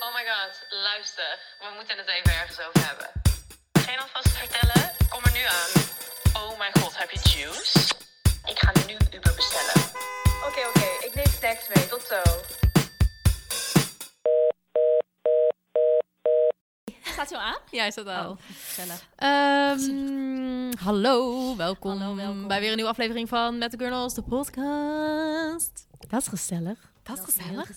Oh my god, luister. We moeten het even ergens over hebben. Geen alvast vertellen? Kom er nu aan. Oh my god, heb je juice? Ik ga nu Uber bestellen. Oké, oké. Ik neem snacks mee. Tot zo. Staat zo aan? Ja, is Oh, dat al. Gezellig. Ehm, hallo, welkom, Hallo, welkom. bij weer een nieuwe aflevering van Met de Gurnals, de podcast. Dat is gezellig. Dat is gezellig.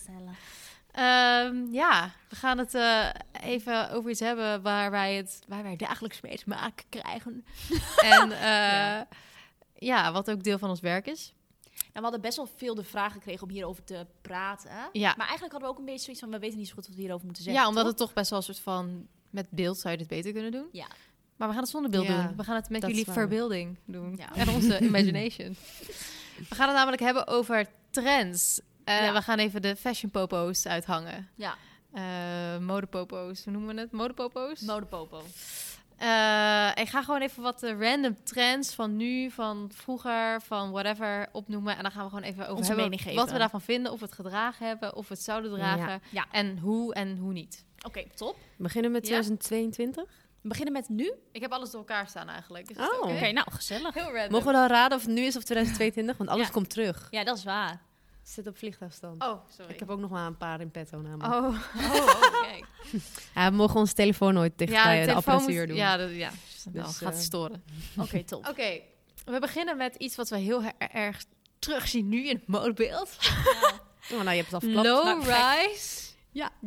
Ehm, ja, we gaan het eh, even over iets hebben waar wij, het, waar wij dagelijks mee te maken krijgen. en eh, ja. wat ook deel van ons werk is. Nou, we hadden best wel veel de vragen gekregen om hierover te praten. Ja. Maar eigenlijk hadden we ook een beetje zoiets van, we weten niet zo goed wat we hierover moeten zeggen. Ja, omdat toch? het toch best wel een soort van... Met beeld zou je dit beter kunnen doen. Ja. Maar we gaan het zonder beeld Ja, doen. We gaan het met dat jullie is waar. verbeelding doen. Ja. En onze imagination. We gaan het namelijk hebben over trends. En Ja. we gaan even de fashion popo's uithangen. Ja, Eh modepopo's, hoe noemen we het? Modepopo's? modepopo. Eh, ik ga gewoon even wat eh, random trends van nu, van vroeger, van whatever opnoemen. En dan gaan we gewoon even over Onze hebben mening wat geven. we daarvan vinden. Of we het gedragen hebben, of we het zouden dragen. Ja. En hoe en hoe niet. Oké, top. We beginnen met Ja? 2022. We beginnen met nu. Oké, Ik heb alles door elkaar staan eigenlijk. Is Oh. dat Oh. oké? Oké, nou, gezellig. Heel random. Mogen we dan raden of het nu is of 2022? Want alles Ja. komt terug. Ja, dat is waar. Zit op vliegtuigstand. Oh, sorry. Ik heb ook nog maar een paar in petto namelijk. Oh, oh kijk. Ja, we mogen onze telefoon nooit dicht bij de, apparatuur doen. Ja, dat, ja. nou, Dus, gaat eh, storen. Oké, top. Oké, we beginnen met iets wat we heel her- erg terugzien nu in het modebeeld. Oh, nou, je hebt het al verklapt. Nou, Low-rise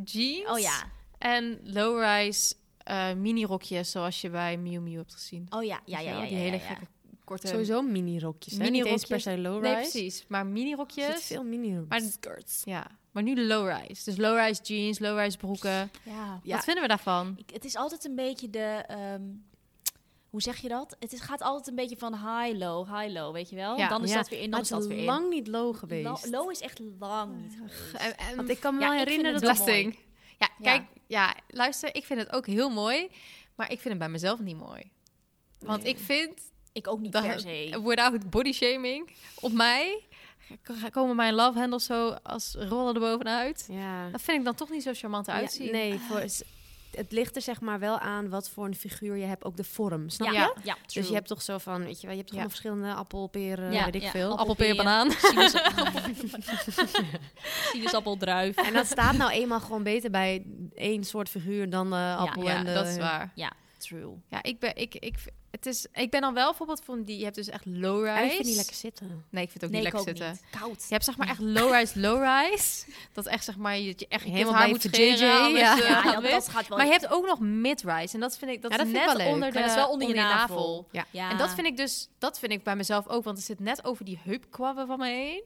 jeans. Oh ja. En low-rise eh, mini-rokjes zoals je bij Miu Miu hebt gezien. Oh ja, ja, ja, ja. Wel, ja, die ja, hele ja. gekke korte... Sowieso mini-rokjes. hè? Mini-rokjes. Niet eens per se low-rise. Nee, precies. Maar Er zitten mini-rokjes. veel mini-rokjes. Maar, ja, maar nu low-rise. Dus low-rise jeans, low-rise broeken. Ja. Ja. Wat vinden we daarvan? Ik- het is altijd een beetje de... ehm, hoe zeg je dat? Het is, gaat altijd een beetje van high-low, high-low, weet je wel? Ja, dan is ja. dat weer in, dan Maar is het dat is weer in. lang niet low geweest. Lo- low is echt lang niet geweest. En- en- Want ik kan me Ja, Nou, wel ik vind herinneren het dat... wel belasting. Ja, Ja. kijk, ja, luister, ik vind het ook heel mooi, maar ik vind het bij mezelf niet mooi. Want ik vind Ik ook niet dat per se. without body shaming op mij k- komen mijn love handles zo als rollen erbovenuit. Ja. Dat vind ik dan toch niet zo charmant Ja, uitzien. nee, voor, het ligt er zeg maar wel aan wat voor een figuur je hebt. Ook de vorm, snap Ja, je? ja. Ja. Dus je hebt toch zo van, weet je wel, je hebt toch Ja. allemaal verschillende appel, peren, Ja, weet ik ja. veel. Appel, Appelpeer, peer. banaan. sinaasappel, druif. En dat staat nou eenmaal gewoon beter bij één soort figuur dan eh appel Ja, en de... dat is waar. Ja, true. Ja, ik ben, ik, ik, het is, ik ben dan wel bijvoorbeeld van die, je hebt dus echt low-rise. Hij vindt niet lekker zitten. Nee, ik vind het ook nee, niet ik ook lekker zitten. niet. Koud. Je hebt zeg maar echt low-rise, low-rise. Dat echt zeg maar, je, je echt je Helemaal kind haar bij moet voor scheren. JJ, alles, ja. eh, Ja, dat, alles. dat gaat wel. Maar je hebt ook nog mid-rise. En dat vind ik, dat Ja, is dat vind net ik wel leuk. onder de, Ja, dat is wel onder je navel. Ja. ja. En dat vind ik dus, dat vind ik bij mezelf ook. Want er zit net over die heupkwabben van me heen.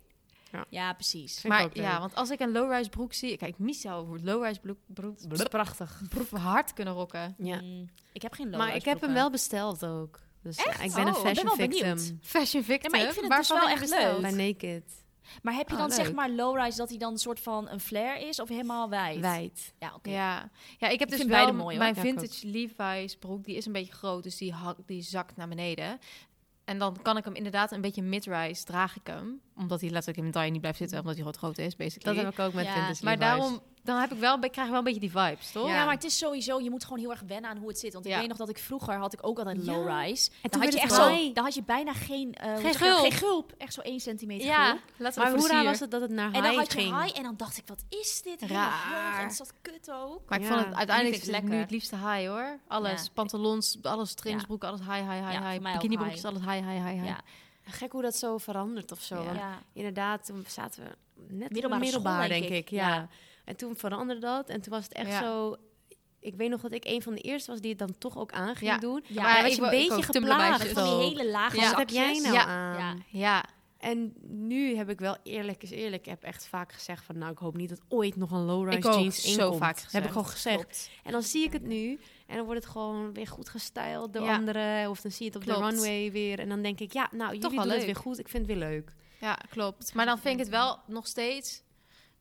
Ja, precies. Vind ik maar ook leuk. ja, want als ik een low-rise broek zie... Kijk, Mies zou een low-rise broek, broek, Dat is prachtig. broek hard kunnen rocken. Ja. Mm, ik heb geen low Maar ik heb hem wel besteld ook. Dus ja, ik ben Oh, een ik ben fashion wel benieuwd. victim. Fashion victim. Ja, maar ik vind het Waarvan dus wel heb je echt besteld? Bij leuk. Naked. Maar heb je Oh, dan zeg leuk. maar low-rise dat hij dan een soort van een flare is of helemaal wijd? Wijd. Ja, oké. Ja. ja, ik Ik heb dus vind wel beide mooi, hoor. mijn Ja, ik ook. vintage Levi's broek, die is een beetje groot, dus die, hak, die zakt naar beneden. En dan kan ik hem inderdaad een beetje mid-rise draag ik hem, omdat hij letterlijk in mijn taille niet blijft zitten, omdat hij groot groot is, Dat basically. heb ik ook met Ja, vintage maar Levi's. daarom dan heb ik wel, ik krijg wel een beetje die vibes, toch? Ja. Ja. maar het is sowieso, je moet gewoon heel erg wennen aan hoe het zit. Want ik Ja. weet nog dat ik vroeger had ik ook altijd Ja. low rise. En dan toen had werd je het echt saai. zo, dan had je bijna geen, eh, hoe zeg je dat? gulp. geen gulp. Echt zo 1 centimeter ja. gulp. Laten we Maar voor de hoe raar sier. was het dat het naar En dan high had je ging? high en dan dacht ik, wat is dit? Helemaal Raar. hoog. En is dat kut ook? Maar ik Ja. vond het uiteindelijk En die is vind ik het nu lekker. het liefste high hoor. Alles, Ja. pantalons, alles, trainingsbroeken, alles high, high, high, Ja, voor high. mij ook Bikinibroekjes, alles high, high, high, high. Ja. Gek hoe dat zo verandert of zo. Ja. Want Ja. Inderdaad, toen zaten we net middelbaar, Middelbare middelbaar school, denk, denk ik. ik. Ja. Ja. En toen veranderde dat. En toen was het echt Ja. zo... Ik weet nog dat ik een van de eerste was die het dan toch ook aan ging Ja. doen. Ja, maar maar was ik je een wou- ik beetje ook tumblermeisjes. geplaagd. Van Zo. die hele lage Ja. Wat Zak heb zakjes. jij nou Ja. aan? Ja. Ja. En nu heb ik wel eerlijk is eerlijk. Ik heb echt vaak gezegd van nou ik hoop niet dat ooit nog een low-rise Ik ook, jeans zo inkomt. vaak Heb gezegd. ik gewoon gezegd. Klopt. En dan zie ik het nu en dan wordt het gewoon weer goed gestyled door Ja. anderen. Of dan zie je het op de Klopt. runway weer. En dan denk ik ja nou jullie wel doen het leuk. weer goed. Ik vind het weer leuk. Ja, klopt. Maar dan vind ik het wel nog steeds...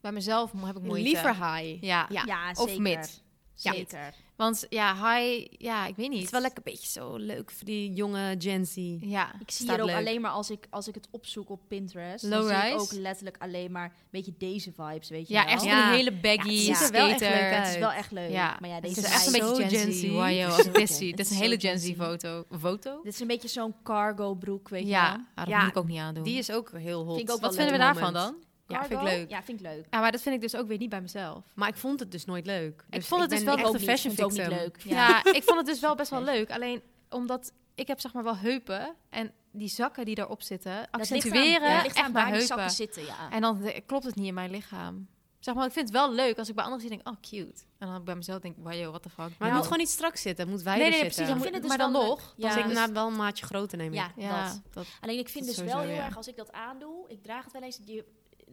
Bij mezelf mo- heb ik moeite. Liever high. Ja. Ja. Of mid. Ja. Zeker. Want ja, high... Ja, ik weet niet. Het is wel lekker een beetje zo leuk voor die jonge Gen Z. Ja. Ik zie Staat hier ook leuk. alleen maar als ik, als ik het opzoek op Pinterest. Low dan zie ik rise? ook letterlijk alleen maar een beetje deze vibes, weet je Ja, wel. echt Ja. een hele baggy Ja, het ziet er wel echt skater. leuk Het is uit. wel echt leuk. Ja. Maar ja, het deze is echt een vibes- beetje Gen Z. Wow, yo, Het als is zo Gen Z. Gen- Dit het is is een zo hele Gen Gen Z. Z foto. Foto? Dit is een beetje zo'n cargo broek, weet je wel. Ja. ah, Dat Ja. moet ik ook niet aandoen. Die is ook heel hot. Vind ik ook Wat wel vinden we leuk daarvan moment. dan? Ja, vind ik Cargo? leuk. Ja, vind ik leuk. Ja, maar dat vind ik dus ook weer niet bij mezelf. Maar ik vond het dus nooit leuk. Dus vond het dus ben wel echt ook een niet. fashion Vond het ook victim. niet leuk. Ja. ik vond het dus wel best wel leuk. Alleen omdat ik heb zeg maar wel heupen en die zakken die daarop zitten Dat ligt aan- accentueren ja, het ligt echt aan mijn waar die zakken heupen. zitten, ja. En dan eh, klopt het niet in mijn lichaam. Zeg maar, ik vind het wel leuk als ik bij anderen zie denk, oh cute. En dan bij mezelf denk, wow, yo, what the fuck. Maar het Nou, moet gewoon niet strak zitten. Het moet wijder Nee, nee, zitten. precies. Dan Ik moet, vind het maar dus dan wel nog. leuk. Ja. Als ik nou, na wel een maatje groter neem ik. Ja, Ja, dat. dat. Alleen ik vind Dat dus sowieso, wel heel ja. erg, als ik dat aandoe, ik draag het wel eens, je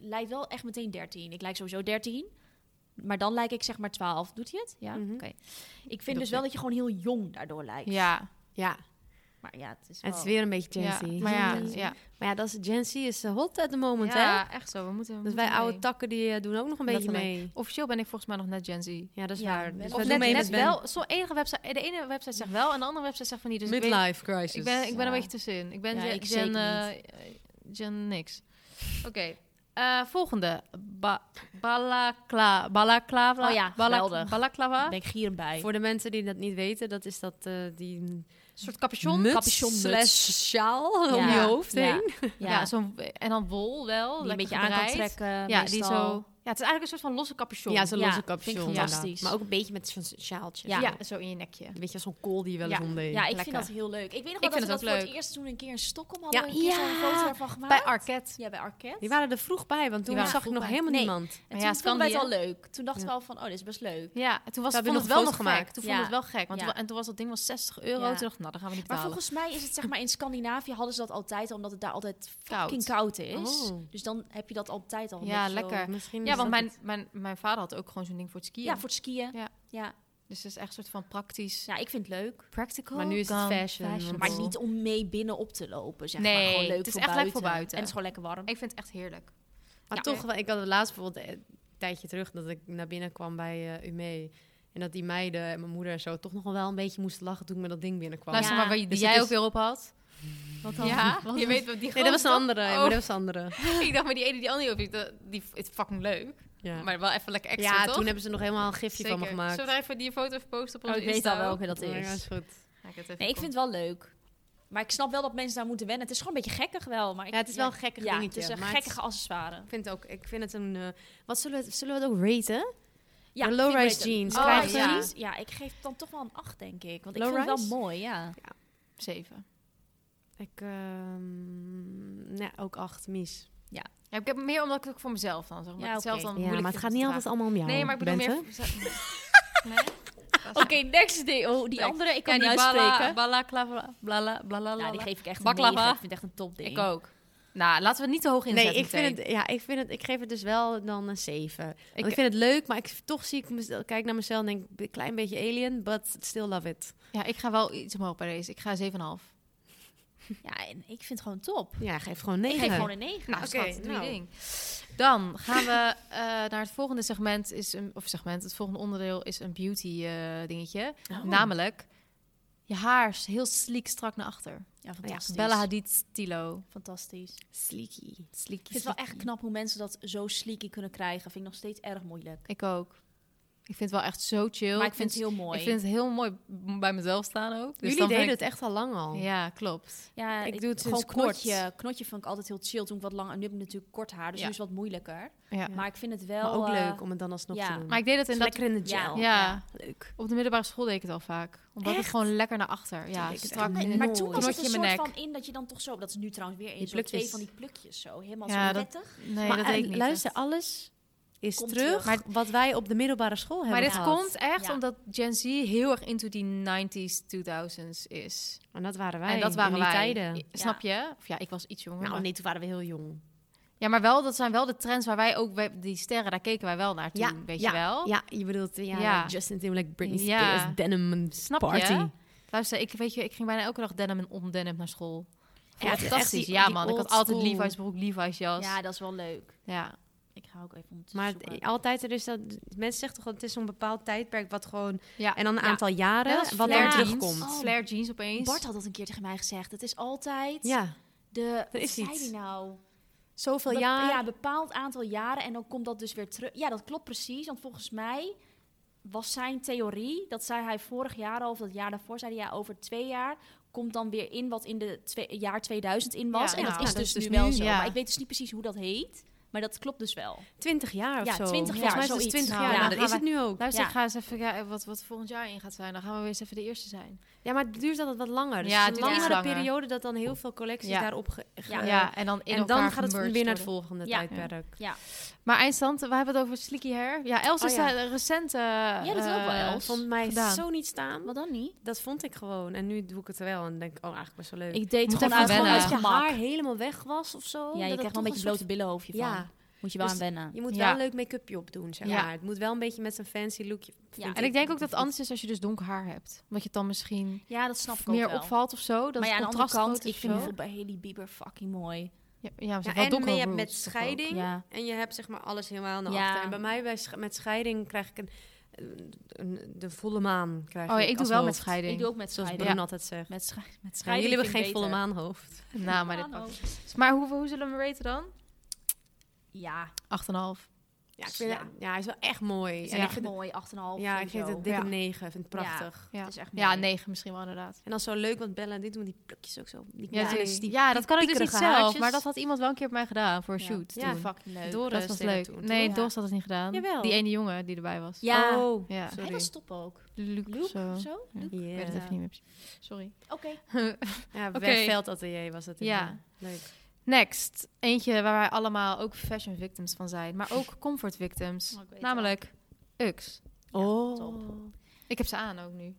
lijkt wel echt meteen 13. Ik lijk sowieso 13, maar dan lijk ik zeg maar 12. Doet hij het? Ja, Mhm. oké. Ik vind Doet dus wel hij. dat je gewoon heel jong daardoor lijkt. Ja, Ja, Maar ja, het is wel... het is weer een beetje Gen ja. Z. Maar ja, Gen Z. ja. Maar ja, dat is, Gen Z is eh, hot at the moment, hè? ja, echt zo. We moeten, we Dus moeten wij oude mee. takken die eh, doen ook nog een beetje Letterlijk. mee. Officieel ben ik volgens mij nog net Gen Z. Ja, dat is Ja, waar. wel. Dus Of we Of doen net, mee net met Ben. wel. Zo enige website, de ene website zegt wel en de andere website zegt van niet. Dus ik weet- Midlife crisis. Ik ben, ik ben een Ja. beetje tussenin. Ik ben Ja, Gen, ik Gen, zeker eh, Gen niks. Oké. eh, volgende. Ba balakla balaklava. Oh ja, balak- geweldig. Balaklava. ben ik gierend bij. Voor de mensen die dat niet weten, dat is dat eh, die Een soort capuchon. muts capuchon muts. slash sjaal om Ja. je hoofd Ja. heen. Ja, ja, zo'n, en dan wol wel. die een lekker beetje aan kan gebreid. trekken. Ja, die meestal. zo. Ja, het is eigenlijk een soort van losse capuchon. Ja, zo'n Ja, losse vind ik capuchon. fantastisch. inderdaad. Maar ook een beetje met zo'n sjaaltje. Ja. Ja, zo in je nekje. Een beetje als zo'n kool die je wel eens Ja. omdeed. Ja, ik Lekker. vind dat heel leuk. Ik weet nog Ik wel dat vind we het ook dat voor het leuk. eerst toen een keer in Stockholm Ja. hadden. we een keer Ja. zo'n foto ervan gemaakt. Bij Arket. Ja, bij Arket. Die waren er vroeg bij, want toen waren zag vroeg ik nog bij. helemaal Nee. niemand. En ja, toen vonden wij het Scandië. wel leuk. Toen dachten we al van, oh, dit is best leuk. Ja, en toen was het, Daar heb je vond nog het wel nog gek. foto's gemaakt. Toen Ja. vond het wel gek. Want Ja. toen- en toen was dat ding was 60 euro. Ja. Toen dacht ik, nou, dan gaan we niet Maar betalen. volgens mij is het zeg maar in Scandinavië hadden ze dat altijd, omdat het daar altijd Koud. fucking koud is. Oh. Dus dan heb je dat altijd al. Ja, met zo- lekker. Misschien Ja, want mijn, mijn, mijn vader had ook gewoon zo'n ding voor het skiën. Ja, voor het skiën. Ja. Ja. ja. Nou, Dus het is echt een soort van praktisch. ik vind het leuk. Practical. Maar nu is het gone fashion, want- fashionable. Maar niet om mee binnen op te lopen, zeg maar. Nee, Gewoon leuk het is voor echt leuk buiten. voor buiten. En het is gewoon lekker warm. Ik vind het echt heerlijk. Maar Ja. toch, wel- ik had het laatst bijvoorbeeld eh, een tijdje terug dat ik naar binnen kwam bij eh Ume. En dat die meiden en mijn moeder en zo toch nog wel een beetje moesten lachen toen ik met dat ding binnenkwam. Luister Ja. maar, waar je- die Dus het jij is- ook weer op had. Wat Ja, je weet wat die Nee, dat was een gozer- andere. Ja, maar Oh. dat was een andere. ik dacht, maar die ene die andere op heeft, dat- die is fucking leuk. Ja, Maar wel even lekker extra, ja toch? toen hebben ze nog helemaal een gifje van me gemaakt. Zullen we even die foto even posten op Oh, onze ik weet Insta al wel ook? welke dat Oh, ja, is is. goed. Ja, ik heb het even Nee, ik vind het wel leuk. Maar ik snap wel dat mensen daar moeten wennen. Het is gewoon een beetje gekkig wel. Maar ik- Ja, het is wel een gekkig ja, dingetje, Het is een maar gekkige het accessoire. Ik vind het ook, ik vind het een... eh, wat zullen we, het- zullen we het ook raten? Ja, Een vind low-rise ik leuk. jeans. Low-rise Krijgen we die? jeans. Ja, ik geef dan toch wel een 8, denk ik. Want ik vind het Low-rise? wel mooi, ja. gekomen. Zeven. Ik, ehm, nee, ook acht, mis. Ja, ik heb meer omdat ik het ook voor mezelf dan zeg maar. Ja, ik het zelf oké. dan Ja, moeilijk maar het vind gaat om niet te altijd dragen. allemaal om jou, Nee, maar ik bedoel Bente. meer... Nee? Oké, next day. Oh, die andere, ik kan Ja, niet die bala, uitspreken. bala, klava, blala, blala, Ja, die geef ik echt een Baklava. negen. Ik vind het echt een topding. Ik ook. Nou, laten we het niet te hoog inzetten. Nee, ik meteen. vind het, ja, ik vind het, ik geef het dus wel dan een 7. Want Ik, vind het leuk, maar ik, toch zie ik mezelf, kijk naar mezelf en denk een klein beetje alien, but still love it. Ja, ik ga wel iets omhoog bij deze. Ik ga 7,5. Nou, Ja, en ik vind het gewoon top. Ja, geef gewoon Ik 9. geef gewoon een 9. Nou, schat, oké, doe je nou. ding. Dan gaan we eh, naar het volgende segment. Oh. Is een, of segment, het volgende onderdeel is een beauty eh, dingetje. Namelijk, je haar is heel sleek strak naar achter. Oh Ja, Ja, fantastisch. Bella Hadid stilo. Fantastisch. Sleeky. Sleek. Ik vind het wel echt knap hoe mensen dat zo sleeky kunnen krijgen. Vind ik nog steeds erg moeilijk. Ik ook. Ik vind het wel echt zo chill. Maar ik vind het heel mooi. Ik vind het heel mooi m- bij mezelf staan ook. Dus Jullie dan deden vind het echt al lang al. ik- Ja, klopt. ja, ik doe het gewoon sinds kort. knotje. Knotje vond ik altijd heel chill toen ik wat langer. Nu heb ik natuurlijk kort haar, dus Ja. nu is het wat moeilijker. Ja. Maar ik vind het wel. Maar ook eh, leuk om het dan alsnog ja. te doen. Maar ik deed het in dat... lekker in de Ja. gel. Ja. Leuk. Op de middelbare school deed ik het al vaak. Omdat het Echt? gewoon lekker naar achter. Ja, deed ik het strak. echt Nee, maar toen Mooi. was het een Knotje in soort mijn van nek. in dat je dan toch zo... Dat is nu trouwens weer in Die zo'n twee plukjes. van die plukjes zo. Helemaal Ja, zo dat- prettig. Nee, maar dat deed ik en niet. luister, echt. alles is Komt terug. terug. wat wij op de middelbare school hebben Maar dit gehad. komt echt Ja. omdat Gen Z heel erg into die 90s, 2000s is. En dat waren wij. en dat waren in die wij. tijden. Snap je? Of ja, ik was iets jonger. Nou, maar- nee, toen waren we heel jong. Ja, maar wel, dat zijn wel de trends waar wij ook... wij- Die sterren, daar keken wij wel naar toen, weet je wel? Ja, je bedoelt ja, Ja. Justin Timberlake, Britney Ja. Spears, denim en Snap party. je? Luister, ik, weet je, ik ging bijna elke dag denim en ondenim naar school. Ja, Ja, fantastisch. echt die- ja, die man. Ik had old altijd school. Levi's broek, Levi's jas. Ja, Ja. dat is wel leuk. Ik ga ook even ondertussen Maar zoeken. het- altijd er is dat mensen zeggen toch dat het is zo'n bepaald tijdperk wat gewoon Ja. en dan een Ja. aantal jaren Net als wat flare daar jeans. terugkomt. Oh. Flare jeans opeens. Bart had dat een keer tegen mij gezegd. Het is altijd Ja, de... Wat is zei iets. die nou? zoveel Bepa- jaar. Ja, bepaald aantal jaren en dan komt dat dus weer terug. Ja, dat klopt precies. Want volgens mij was zijn theorie, dat zei hij vorig jaar al of dat jaar daarvoor, zei hij ja, over twee jaar komt dan weer in wat in de twee, jaar 2000 in was. Ja, nou, en ja. dat is Ja, dus, nu wel zo. ja. Maar ik weet dus niet precies hoe dat heet. Maar dat klopt dus wel. 20 jaar of Ja, zo. 20 Volgens jaar, mij is het zoiets. 20 Nou, jaar. ja, Nou, dan dat is gaan het nu ook. Luister, Ja. ik ga eens even kijken wat, wat volgend jaar in gaat zijn. Dan gaan we weer eens even de eerste zijn. Ja, maar het duurt altijd wat langer. Dus Ja, ja, het een duurt langere iets langer. periode dat dan heel veel collecties Ja. daarop ge- ge- eh, Ja. en dan in En dan elkaar gaat het gemerged weer naar het worden. volgende Ja. tijdperk. Ja, Maar eindstand, we hebben het over sleeky hair. Ja, Els Oh, is ja. daar recent... eh, dat wil ik wel, eh, Els. Vond mij Gedaan. zo niet staan. wat dan niet? Dat vond ik gewoon. En nu doe ik het wel en denk, oh, eigenlijk best wel leuk. Ik deed Moet gewoon even uit, gewoon wennen. uit als je gemak. haar helemaal weg was of zo. Ja, je dat krijgt het wel een toch beetje blote billenhoofdje van. Ja. Moet je wel Dus aan wennen. Je moet Ja. wel een leuk make-upje op doen, zeg Ja. maar. Het moet wel een beetje met een fancy lookje. vind Ja. En ik denk ook dat het anders is als je dus donker haar hebt. Omdat je het dan misschien Ja, dat snap ik ook meer wel. opvalt of zo. Dat maar ja, aan het de andere contrast kant, groter ik is vind of zo. bijvoorbeeld bij Haley Bieber fucking mooi. Ja, ja, ze Ja, heeft wel en donkere je hebt roots met toch ook. scheiding Ja. en je hebt zeg maar alles helemaal naar Ja. achter. En bij mij bij sch- met scheiding krijg ik een, een- een- de volle maan. Krijg Oh ja, ik als doe wel met hoofd. scheiding. Ik doe ook met Zoals scheiden. Bruno altijd zegt. Met, sche met Ja, scheiden jullie hebben geen vind ik volle beter. maanhoofd. Nou, maar, dit maar hoe, hoe zullen we hem raten dan? Ja, 8,5. Ja, ik vind, Ja. ja. hij is wel echt mooi. is En ik echt vind, mooi. 8,5. ja, ik geef het een sowieso. dikke Ja. negen. Ik vind het prachtig. Ja, is echt ja mooi. 9 misschien wel inderdaad. En dan zo leuk, want Bella en dit doen die plukjes ook zo. Die Ja, kleine ja, stief- ja dat kan ik dus niet piekerige zelf. haartjes. Maar dat had iemand wel een keer op mij gedaan voor een Ja. shoot. Ja, toen. fucking leuk. Doris dat was deed het leuk. toen, toch? nee, Ja. Doris had het niet gedaan. Jawel. Die ene jongen die erbij was. Ja. Oh, Ja. sorry. Hij was top ook. Luc of Loop zo. of zo? Ja. Ja. Ik weet het even niet meer. precies. Sorry. Oké. Ja, Oké. Veldatelier was dat. Ja. inderdaad. Leuk. Next. Eentje waar wij allemaal ook fashion victims van zijn. Maar ook comfort victims. Oh, ik weet Namelijk Ux. oh. Ik heb ze aan ook nu.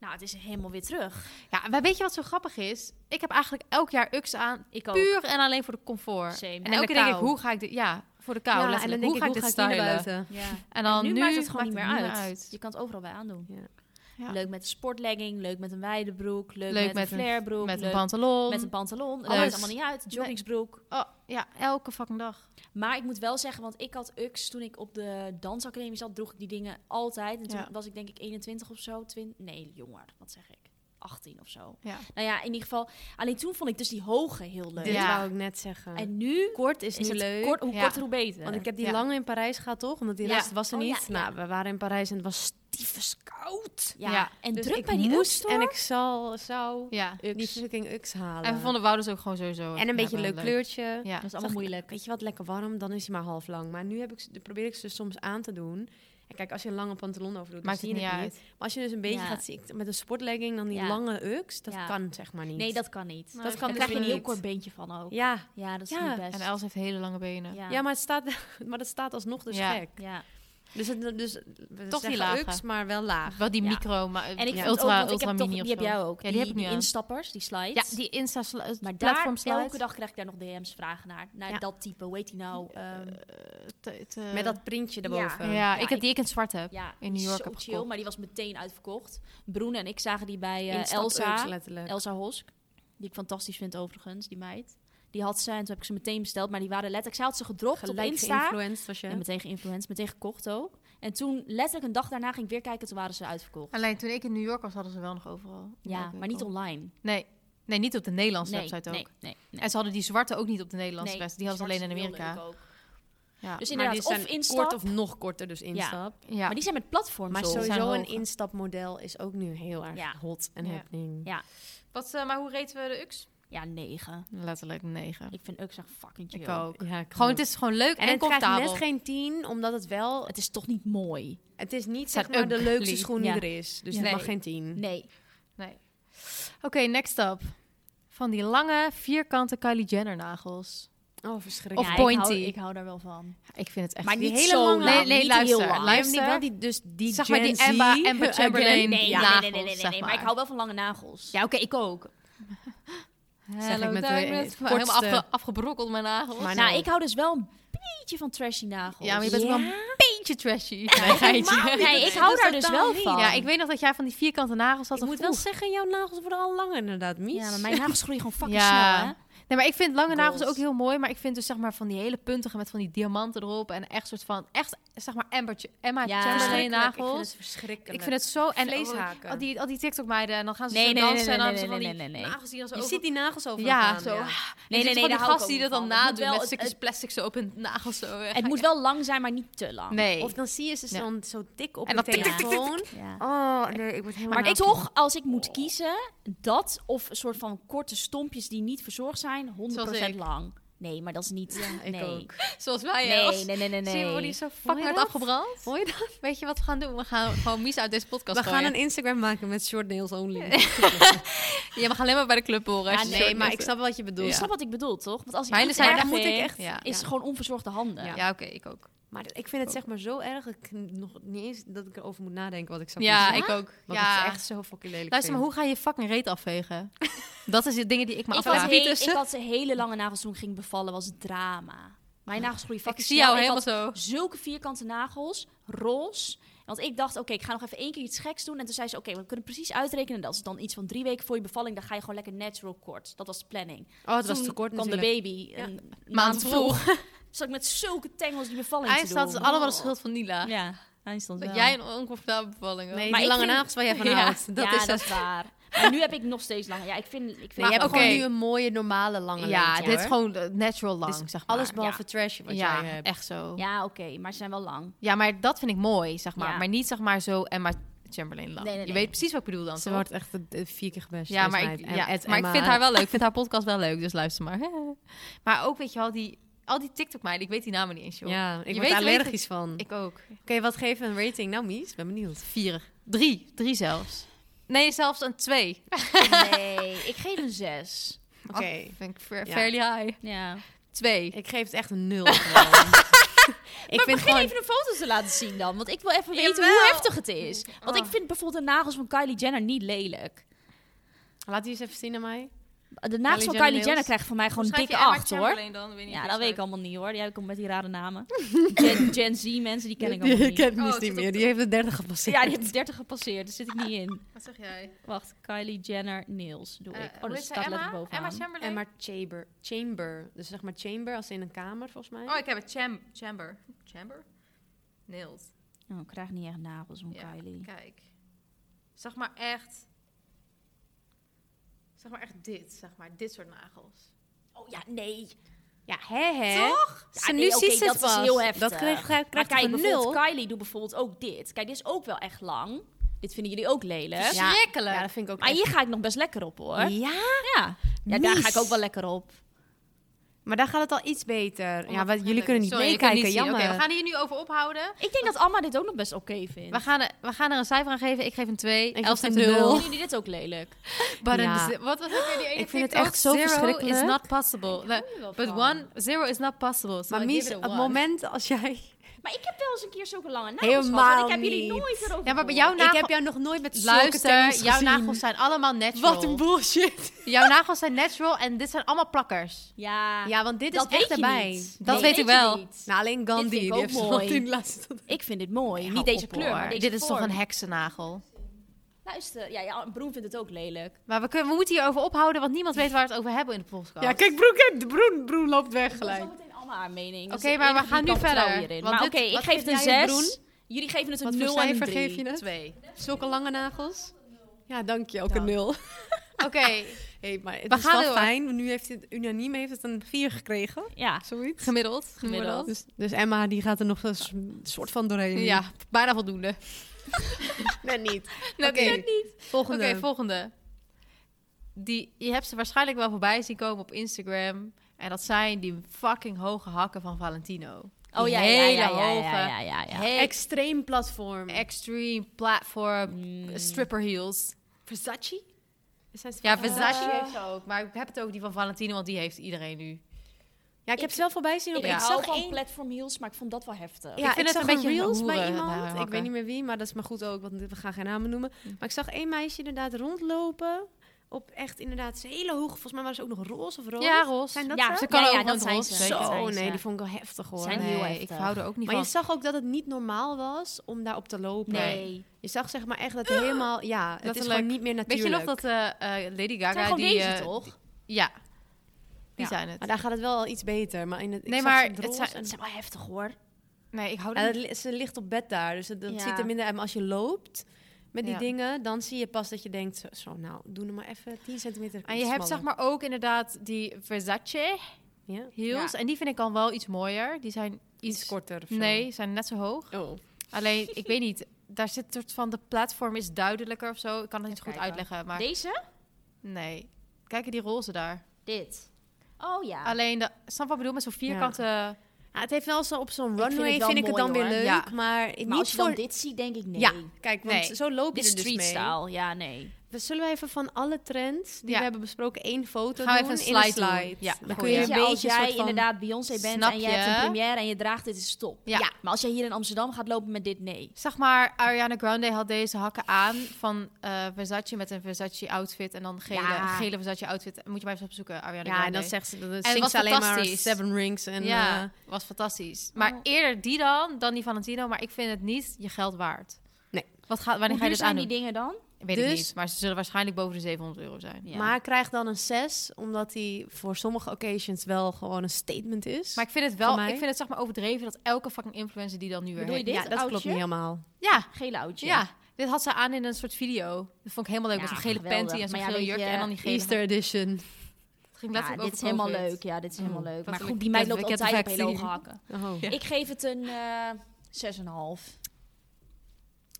Nou, het is helemaal weer terug. Ja, maar weet je wat zo grappig is? Ik heb eigenlijk elk jaar UX aan. Ik ook. Puur en alleen voor de comfort. Same. En, En de elke keer denk ik, kou. hoe ga ik dit... Ja, voor de kou. en dan letterlijk. denk hoe ga ik ik, dit hoe ga ik hier naar stylen? buiten? Ja. En dan nu, nu, maakt het gewoon niet maakt meer, uit. Je uit. kan het overal bij aandoen. Ja. Leuk met een sportlegging, leuk met een wijde broek, leuk, Leuk met, met een een- flarebroek, Met een leuk pantalon. met een pantalon. Dat Alles. maakt allemaal niet uit. Joggingsbroek. Oh, ja, elke fucking dag. Maar ik moet wel zeggen, want ik had UX toen ik op de dansacademie zat, droeg ik die dingen altijd. En toen Ja. was ik denk ik 21 of zo. 20, nee, jonger. Wat zeg ik? 18 of zo. Ja. Nou ja, in ieder geval. Alleen toen vond ik dus die hoge heel leuk. Dit Ja. wou ik net zeggen. En nu kort is, is, nu het leuk. Kort, hoe Ja. korter, hoe beter. want ik heb die Ja. lange in Parijs gehad, toch? Omdat die Ja. rest was er Oh, ja, niet. ja. Nou, we waren in Parijs en het was stiefes koud. ja. ja. En Dus druk ik bij die moest Ux-store. En ik zal, zou Ja. die fucking Ux halen. En we vonden Wouders ook gewoon sowieso... en een beetje een leuk, hebben, kleurtje. Ja. Dat is Dacht allemaal ik, moeilijk. Weet je wat, lekker warm, dan is hij maar half lang. Maar nu heb ik, ze- probeer ik ze soms aan te doen. En kijk, als je een lange pantalon over doet, dan Maakt zie het je niet het uit. niet. Maar als je dus een beetje Ja. gaat zien, ik- met een sportlegging, dan die Ja. lange Ux, dat Ja. kan zeg maar niet. Nee, dat kan niet. Nou, dat kan Dan dus krijg je een niet. heel kort beentje van ook. Ja, Ja, dat is Ja. niet best. En Els heeft hele lange benen. ja. Ja, maar, het staat, maar dat staat alsnog dus Ja. gek. Ja. Dus, het, dus we Toch die zeggen lage. UX, maar wel laag. Wel die Ja. micro, maar En ik ja. vind ultra, ook, want ik ultra heb mini toch, die of heb zo. jij ook. Ja, die, heb ik nu die aan. instappers, die Ja, slides. die Insta sli- Maar daar, platform slide. elke dag krijg ik daar nog DM's vragen naar. Naar Ja. Eh, dat type, hoe heet die nou? Ehm, Te- te- Met dat printje erboven. eh, Ja, ik heb ik- die ik in het zwart heb. ja, in New York zo heb chill, gekocht. maar die was meteen uitverkocht. Broen en ik zagen die bij eh, Instap UX Elsa. letterlijk. Elsa Hosk, die ik fantastisch vind overigens, die meid. Die had ze en toen heb ik ze meteen besteld. Maar die waren letterlijk... Zij had ze gedropt op Gelijk Insta. geïnfluenced was je. En meteen geïnfluenced, meteen gekocht ook. En toen, letterlijk een dag daarna, ging ik weer kijken, toen waren ze uitverkocht. Alleen toen ik in New York was, hadden ze wel nog overal. Ja, maar niet online. Nee. nee, niet op de Nederlandse nee, website ook. Nee, nee, nee. En ze hadden die zwarte ook niet op de Nederlandse Nee, website. Die hadden ze alleen in zwarte wilde Amerika. ik ook. Ja. Dus maar inderdaad, die of zijn instap. kort of nog korter, dus instap. ja. Maar die zijn met platforms Maar op. zo- sowieso zijn een hoog. instapmodel is ook nu heel erg Ja. hot en Ja. happening. Ja. Wat, eh, maar hoe reten we de UX? Ja, negen. Letterlijk negen. Ik vind ook zeg fucking chill. Ik ook. Ja, ik Gewoon, ook. het is gewoon leuk en, en het krijgt comfortabel. net geen 10, omdat het wel... Het is toch niet mooi? Het is niet zijn zeg maar de ugly. leukste schoen Ja. die er is. Dus Nee. het mag geen 10. Nee. Nee. Oké, next up. Van die lange, vierkante Kylie Jenner nagels. Oh, Of verschrikkelijk. Ja, ik pointy. hou- Ik hou, daar wel van. Ik vind het echt... Maar die niet hele zo lange... lang, Nee, nee, niet luister. heel lang. Maar je hebt luister. niet wel die, dus die Zeg maar die Gen Z- Emma- Emma Chamberlain. Nee, nee, nagels, nee, nee, nee, nee, zeg nee, maar. Maar ik hou wel van lange nagels. Nou, Ja, oké, ik ook. Zeg ik met de eh, helemaal kortste- afge- afgebrokkeld mijn nagels. Maar nou, nou. ik hou dus wel een beetje van trashy nagels. ja, maar je bent Ja. wel een beetje trashy. Nee, Helemaal niet. Nee, ik hou daar dus wel van. Ja, ik weet nog dat jij van die vierkante nagels had. Ik dat moet wel vroeg. zeggen, jouw nagels worden al langer inderdaad, Mies. Ja, maar mijn nagels groeien gewoon fucking Ja. snel, hè? Nee, maar ik vind lange nagels Girls. ook heel mooi. Maar ik vind dus zeg maar van die hele puntige met van die diamanten erop. En echt soort van, echt zeg maar Ambertje, Emma Ja. Chamberlain Verschrikkelijk. Ik vind nagels. het verschrikkelijk. Ik vind het zo... En Vleeshaken. Al die, al die TikTok meiden. En dan gaan ze Nee, zo nee, dansen. nee, nee, en dan nee, ze van nee, die nee, nee, nee. nagels die dan zo Je over- ziet die nagels over Ja, zo. nee, Nee, nee, nee, daar nee. Die hou ik gast ook die dat niet dan van. Het moet nadoen wel- met het- stukjes plastic zo op hun nagels. Zo. Het moet wel lang zijn, maar niet te lang. Nee. Ah, Of dan zie je ze Nee. zo'n zo tik op En de dan tik, tik, tik, tik, telefoon. Ja. Oh, nee, ik word helemaal... Maar nou toch, als ik moet kiezen, dat of een soort van korte stompjes die niet verzorgd zijn, 100% ik. lang. Nee, maar dat is niet. ik nee. ook. Zoals wij. hè, Nee, Ah, als- nee, nee, nee, nee. Zie je, we worden hier zo je fucking hard dat? afgebrand. Hoor je dat? Weet je wat we gaan doen? We gaan gewoon Mies uit deze podcast We gaan gooien. een Instagram maken met short nails only. Ja, we gaan alleen maar bij de club Ja, horen. als je nee, short maar nails- snap wat je Je bedoelt. snapt wat ik bedoel, toch? Want als ik Mijne iets zijn erg echt- vind, moet ik echt- Ja, is gewoon onverzorgde handen. ja. oké, ik ook. Maar ik vind het zeg maar zo erg dat ik nog niet eens dat ik erover moet nadenken wat ik zou Ja, kiezen. ik ook. Want ja. het is echt zo fucking lelijk. Luister, maar vind. hoe ga je fucking reet afvegen? dat is de dingen die ik me Ik, had afvraag. heel- ik had ze hele lange nagels toen ik ging bevallen, was het drama. Mijn nagels groeien Ik fucking zie snel. jou helemaal had zo. zulke vierkante nagels, roze. Want ik dacht, oké, ik ga nog even één keer iets geks doen. En toen zei ze, oké, we kunnen precies uitrekenen. Dat is dan iets van drie weken voor je bevalling. Dan ga je gewoon lekker natural kort. Dat was de planning. Oh, het was Toen te kort kwam de natuurlijk. baby een maand, Maand vroeg. Zat ik met zulke tengels die bevalling te doen. Oh. Eindstand is allemaal de schuld van Nila. Ja, eindstand Dat wel. jij een oncomfortabele bevalling had. Nee, Maar die ik lange vind- nagels waar jij van Ja, houdt. Dat ja, is dat dat. is waar. Maar nu heb ik nog steeds langer. Ja, ik vind... Ik vind Maar je hebt oké. gewoon nu een mooie, normale lange ja, lengte, dit is hoor. gewoon eh, natural lang, Dus zeg maar. Alles behalve trash wat ja, jij hebt. echt zo. Ja. Ja, oké, maar ze zijn wel lang. maar dat vind ik mooi, zeg maar. Ja. Maar niet zeg maar zo Emma Chamberlain lang. Nee, nee, Je nee. weet precies wat ik bedoel dan, Ze toch? wordt echt eh, vier keer gebest. Ja, maar, deze ik, meid. En- ja, en maar ik Emma- vind haar wel leuk. Ik vind haar podcast wel leuk, dus luister maar. maar ook, weet je wel, die, al die TikTok-meiden, ik weet die namen niet eens, joh. Ja, ik Je word weet alleen allergisch van. Oké, Ik ook. wat geef een rating? Nou, Mies, ben benieuwd. Vier. Drie. Drie zelfs. Nee, zelfs een twee. Nee, ik geef een zes. Oké. Vind ik fair- Ja. fairly high. Ja. Twee. Ik geef het echt een nul. gewoon. ik vind Begin gewoon... even de foto's te laten zien dan. Want ik wil even weten Jawel. hoe heftig het is. Want Oh. ik vind bijvoorbeeld de nagels van Kylie Jenner niet lelijk. Laat die eens even zien aan mij. De nagels van Jenner Kylie nails. Jenner krijgen van mij gewoon een Schrijf je dikke Emma acht hoor. Chamberlain dan? Weet niet Ja, hoe dat ze weet ik schrijft. allemaal niet hoor. Jij komt met die rare namen. Gen, Gen Z mensen, die ken ik allemaal niet. kent Mies niet meer. Die heeft de derde gepasseerd. Ja, die heeft 30 gepasseerd. Daar zit ik niet in. Wat zeg jij? Wacht, Kylie Jenner nails doe Eh, ik. hoe Oh, dat heet zij? staat letterlijk Emma? Emma bovenaan. Chamberlain? En maar chamber. Chamber. Dus zeg maar chamber als in een kamer, volgens mij. Oh, ik heb het. Cham chamber. Chamber? Nails. Oh, ik krijg niet echt nagels van Ja, Kylie. kijk. Zeg maar echt... Zeg maar echt dit. Zeg maar dit soort nagels. Oh ja, nee. Ja, hè hè. Toch? Ja, nee, oké, dat is heel heftig. Dat krijg, krijg, Maar krijgt kijk, een bijvoorbeeld nul. Kylie doet bijvoorbeeld ook dit. Kijk, dit is ook wel echt lang. Dit vinden jullie ook lelijk. Ja. Schrikkelijk. Ja, dat vind ik ook Maar echt- hier ga ik nog best lekker op, hoor. Ja? Ja, daar Mies. ga ik ook wel lekker op. Maar daar gaat het al iets beter. Ja, wat, jullie kunnen niet Sorry, ik kan meekijken, niet zien. jammer. Oké, we gaan hier nu over ophouden. Ik denk dat Amma dit ook nog best oké vindt. We gaan, er- we gaan er een cijfer aan geven. Ik geef een 2. geef Elf een het een 0. Vinden jullie dit ook lelijk? Ja. Wat was ook weer die ene Ik vind het TikTok? echt zo zero is verschrikkelijk. not possible. er wel But van. one, zero is not possible. So Maar I give Mies, it a op one. het moment als jij... Maar ik heb wel eens een keer zulke lange nagels Helemaal gehad. en Ik heb jullie niet. nooit erover Ja, maar bij gehoord. jouw nagels... Ik heb jou nog nooit met zulke Luister, tengels jouw gezien. nagels zijn allemaal natural. Wat een bullshit. Jouw nagels zijn natural en dit zijn allemaal plakkers. Ja, Ja, want dit dat is weet echt je erbij. niet. Dat Nee, weet ik je wel. niet. Nou, alleen Gandhi. Dit vind ik die ook heeft ze mooi. nog in de laatste- Ik vind dit mooi. Hou Niet deze op, kleur, maar hoor. deze Dit is toch vorm. een heksennagel? Luister, ja, ja, Broen vindt het ook lelijk. Maar we, kunnen, we moeten hierover ophouden, want niemand weet waar we het over hebben in de podcast. Ja, kijk, Broen, kijk, Broen, Broen loopt weg Dat is gelijk. wel meteen allemaal haar mening. Oké, maar we gaan nu verder, want Maar oké, dit- ik wat geef het een geef jij het, 6. Jullie geven het Wat een voor 0 en een cijfer 3. geef je het? Twee. Zulke lange nagels? Ja, dank je. Ook een Dank. nul. Oké, Hey, maar het We is gaan wel door. fijn. Nu heeft het unaniem heeft het een 4 gekregen. Ja, Zoiets. gemiddeld. Gemiddeld. Gemiddeld. Dus, dus Emma die gaat er nog een s- soort van doorheen. Ja, bijna voldoende. net niet. Net Oké. niet. Nou, Oké, Volgende. volgende. Die, je hebt ze waarschijnlijk wel voorbij zien komen op Instagram. En dat zijn die fucking hoge hakken van Valentino. Die oh ja, ja, hele ja, ja, hoge, ja, ja, ja, ja. he- Extreem platform. extreme platform stripper heels. Versace? Ah. Ja, Versace heeft ze ook. Maar ik heb het ook die van Valentino, want die heeft iedereen nu. Ja, ik heb ze wel voorbij zien op Ik Ja. hou Instagram. van platform heels, maar ik vond dat wel heftig. Ja, ik, vind het zag een beetje reels een bij hoeren- iemand. bij ik hakken. weet niet meer wie, maar dat is maar goed ook, want we gaan geen namen noemen. Hm. Maar ik zag één meisje inderdaad rondlopen op echt inderdaad ze hele hoog. Volgens mij waren ze ook nog roze of roze. Ja, roze. Zijn dat Ja, ze? Ze kan ja, ook ja, gewoon dat het zijn roze, ze. zeker. Dat Zo, zijn nee, ze. die vond ik wel heftig hoor. Zijn Nee. heel Nee, ik heftig. hou er ook niet Maar je van. zag ook dat het niet normaal was om daarop te lopen. Nee. Je zag zeg maar echt dat helemaal, ja, het is Letterlijk. gewoon niet meer Weet natuurlijk. je nog dat eh, eh, Lady Het zijn Gaga... gewoon die, deze, eh, toch? Ja, die Ja. zijn het. Maar daar gaat het wel iets beter. Maar in het, ik Nee, zag maar ze in het roze zijn- en- Oh, Het zijn wel heftig, hoor. Nee, ik hou er Ja, niet dat li- ze ligt op bed daar, dus dat, dat Ja. ziet er minder uit. Maar als je loopt met die Ja. dingen, dan zie je pas dat je denkt, zo, zo, nou, doe er maar even 10 centimeter En je hebt zeg maar ook inderdaad die Versace maar... Ja? heels. En die vind ik dan wel iets mooier. Die zijn iets... Iets korter of zo. Nee, zijn net zo hoog. Oh. Alleen, ik weet niet. Daar zit een soort van... De platform is duidelijker of zo. Ik kan het niet Even goed kijken. uitleggen, maar... Deze? Nee. Kijken die roze daar. Dit. Oh ja. Alleen, de, snap je wat ik bedoel? Met zo'n vierkante... Ja, het heeft wel zo op zo'n vind het runway, vind, wel ik het mooi, dan weer hoor. leuk. Ja. Maar, maar als niet je voor... dan dit ziet, denk ik nee. Ja, kijk, want Nee. zo loop je Dit er is dus street mee. style. Ja, nee. We zullen we even van alle trends die Ja. we hebben besproken één foto Gaan we doen even een in slide doen. Ja, goeie. Dan kun je Weet je, een beetje als jij soort van... inderdaad Beyoncé bent Snap en jij hebt een je? première en je draagt dit, is stop. Ja. Maar als jij hier in Amsterdam gaat lopen met dit, nee. Zeg maar, Ariana Grande had deze hakken aan van eh, Versace met een Versace outfit. En dan gele, Ja. gele Versace outfit. Moet je maar eens opzoeken, Ariana Ja, Grande. en dan zegt ze, dan het zingt was ze alleen maar fantastisch. Seven Rings en... ja, eh, was fantastisch. Oh. Maar eerder die dan, dan die Valentino. Maar ik vind het niet je geld waard. Nee. Wat gaat, wanneer Hoe ga duur je dit zijn aan die dingen dan? Weet ik Dus- niet. Maar ze zullen waarschijnlijk boven de 700 euro zijn. Ja. Maar krijgt dan een 6, omdat hij voor sommige occasions wel gewoon een statement is. Maar ik vind het Voor wel, mij? ik vind het zeg maar overdreven dat elke fucking influencer die dan nu weer Bedoel je heeft- ja, dit dat klopt oudje? niet helemaal. Ja, Gele oudje. ja. Dit had ze aan in een soort video. Dat vond ik helemaal leuk. Ja, met zo'n gele geweldig. panty en zo'n Maar ja, gele weet jurk je, en dan die gele... Easter edition. Het ging Ja, letterlijk dit over is helemaal COVID. leuk. Ja, dit is helemaal leuk. Maar Letterlijk, goed, die meid Mm. ik heb- loopt ik heb altijd op het hele hoge vaccin. hakken. Oh. Ik geef het een eh 6,5.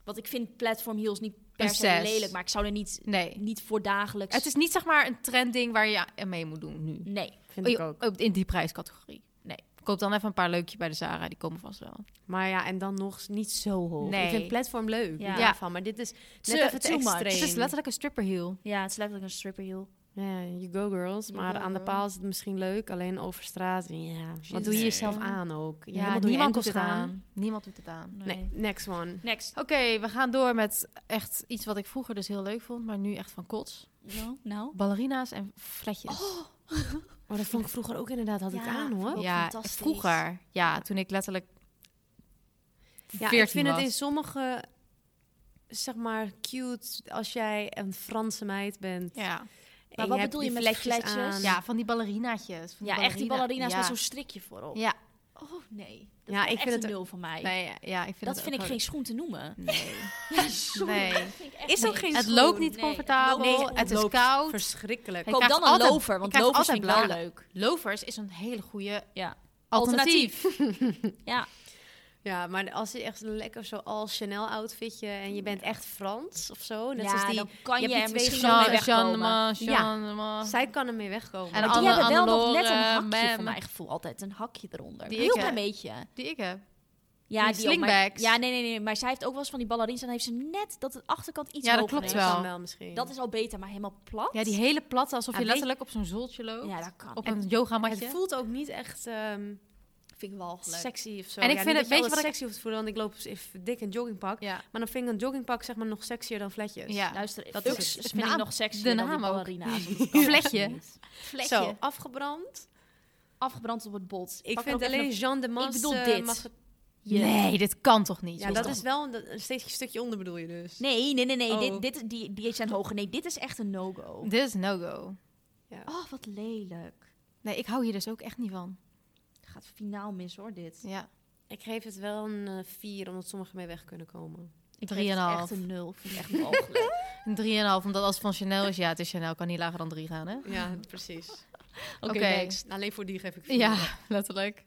Want ik vind platform heels niet per Een se zes. lelijk, maar ik zou er niet, Nee. niet voor dagelijks... Het is niet zeg maar een trendding waar je aan mee moet doen nu. Nee. Vind ik Oh, ook. In die prijscategorie. Nee. Koop dan even een paar leukje bij de Zara. Die komen vast wel. Maar ja, en dan nog niet zo hoog. Nee. Ik vind platform leuk. Ja. Ja. Daarvan, maar dit is net Te- even te too much. extreem. Het is dus letterlijk een stripperheel. Ja, het is letterlijk een stripper heel. Ja, you go girls. You maar go aan de girls. paal is het misschien leuk. Alleen over straat. Ja. Wat doe je Nee. jezelf aan ook? Je Ja, helemaal door je niemand doet enkels het aan. Niemand doet het aan. Nee. next one. Next. Oké, we gaan door met echt iets wat ik vroeger dus heel leuk vond, maar nu echt van kots. Nou, nou. Ballerina's en fletjes. Maar Oh, dat vond ik vroeger ook inderdaad, had ik Ja, aan hoor. ook ja, fantastisch. vroeger. Oh, Ja, toen ik letterlijk Ja, 14 ik vind was. het in sommige, zeg maar, cute als jij een Franse meid bent. Ja, en Maar wat hebt bedoel die je met vletjes? aan. ja van die ballerinaatjes. van Ja, echt die ballerina's ja. met zo'n strikje voorop. Ja, Oh, nee. Dat Ja, is ik echt vind een het- nul van mij. nee, ja, ik vind dat het vind ik ook geen schoen te noemen. wel- Nee. Ja, sorry, Nee. dat vind ik echt Is ook niks. geen Het schoen. loopt niet Nee, comfortabel, het loopt- het is loopt koud. Verschrikkelijk. Ik Koop krijg dan een altijd- lover, want ik krijg lovers vind ik wel altijd leuk. Lovers is een hele goede Ja. alternatief. Ja. Ja, maar als je echt lekker zo al Chanel outfitje en je bent echt Frans of zo. Net Ja, zoals die, dan kan je hebt die er twee misschien Jean- wel mee wegkomen. Jean, Ja. Jean, zij kan ermee wegkomen. En Maar Anne- die hebben wel nog Anne-Lore, net een hakje voor man. mijn gevoel. Altijd een hakje eronder. Die Een heel ik, klein eh, beetje. Die ik heb. Ja, die ook, maar- slingbags. Ja, nee, nee, nee. Maar zij heeft ook wel eens van die ballerines. En dan heeft ze net dat de achterkant iets Ja, dat hoger klopt is. Dat kan wel. wel misschien. Dat is al beter, maar helemaal plat. Ja, die hele platte, alsof Ja, je weet- letterlijk op zo'n zooltje loopt. Ja, dat kan. Op een yogamatje. het voelt ook niet echt ehm, vind ik wel leuk. sexy of zo. En ik Ja, vind het- niet dat weet je alles wat ik- sexy hoeft te voelen, want ik loop in dik een joggingpak. Ja. Maar dan vind ik een joggingpak zeg maar nog sexier dan vletjes. Ja. Luister, dat Dat is Ux het. vind De ik naam- nog sexy de dan die naam ook. ballerina's. want dat kan Vlekje. echt niet. Vlekje. Zo, afgebrand. Afgebrand op het bot. Ik Pak er vind ook even alleen Jean de Mas bedoel eh, dit. mag het- een- je... Nee, dit kan toch niet? Ja, joh? dat is wel een, een steeds een stukje onder bedoel je dus. Nee, nee, nee, nee. Oh. Dit, dit, die, die zijn hoger. Nee, dit is echt een no-go. Dit is no-go. Oh, wat lelijk. Nee, ik hou hier dus ook echt niet van. Gaat finaal mis hoor, dit. Ja. Ik geef het wel een eh, vier, omdat sommigen mee weg kunnen komen. Ik Drie en geef een het half. echt een nul. Ik vind het echt mogelijk. Een 3,5, omdat als het van Chanel is, ja, het is Chanel, kan niet lager dan 3 gaan, hè? Ja, precies. Nou, Oké, Alleen voor die geef ik vier. Ja, letterlijk.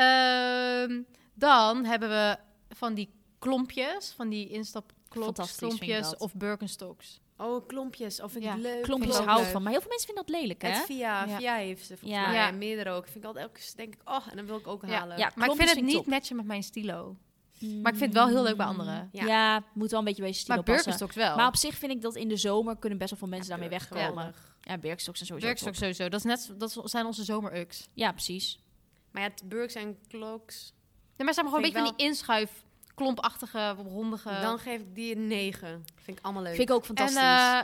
Ehm, dan hebben we van die klompjes, van die instapklops, Fantastisch, vind ik klompjes dat. of Birkenstocks. Oh, klompjes. Of vind ik Ja, leuk. Klompjes Vind ik hou ook ik van. Maar heel veel mensen vinden dat lelijk, leuk. hè? Het via, Ja. via heeft ze volgens Ja. mij. Ja. En meerdere ook. Vind ik altijd elke keer denk ik, oh, en dan wil ik ook Ja, halen. ja. Maar ik Klompjes vind het vind ik niet top. matchen met mijn stilo. Maar ik vind het wel heel leuk bij anderen. Ja. Ja, moet wel een beetje bij je stilo Maar passen. Birkenstocks wel. Maar op zich vind ik dat in de zomer kunnen best wel veel mensen daarmee wegkomen. Ja, Geweldig. Birkenstocks en sowieso. Birkenstocks top. sowieso. Dat, is net, dat zijn onze zomerux. Ja, precies. Maar ja, Burks en Kloks. Nee, maar ze hebben gewoon een Vind beetje ik van die inschuif, klompachtige, rondige... Dan geef ik die een negen. Vind ik allemaal leuk. Vind ik ook en fantastisch. eh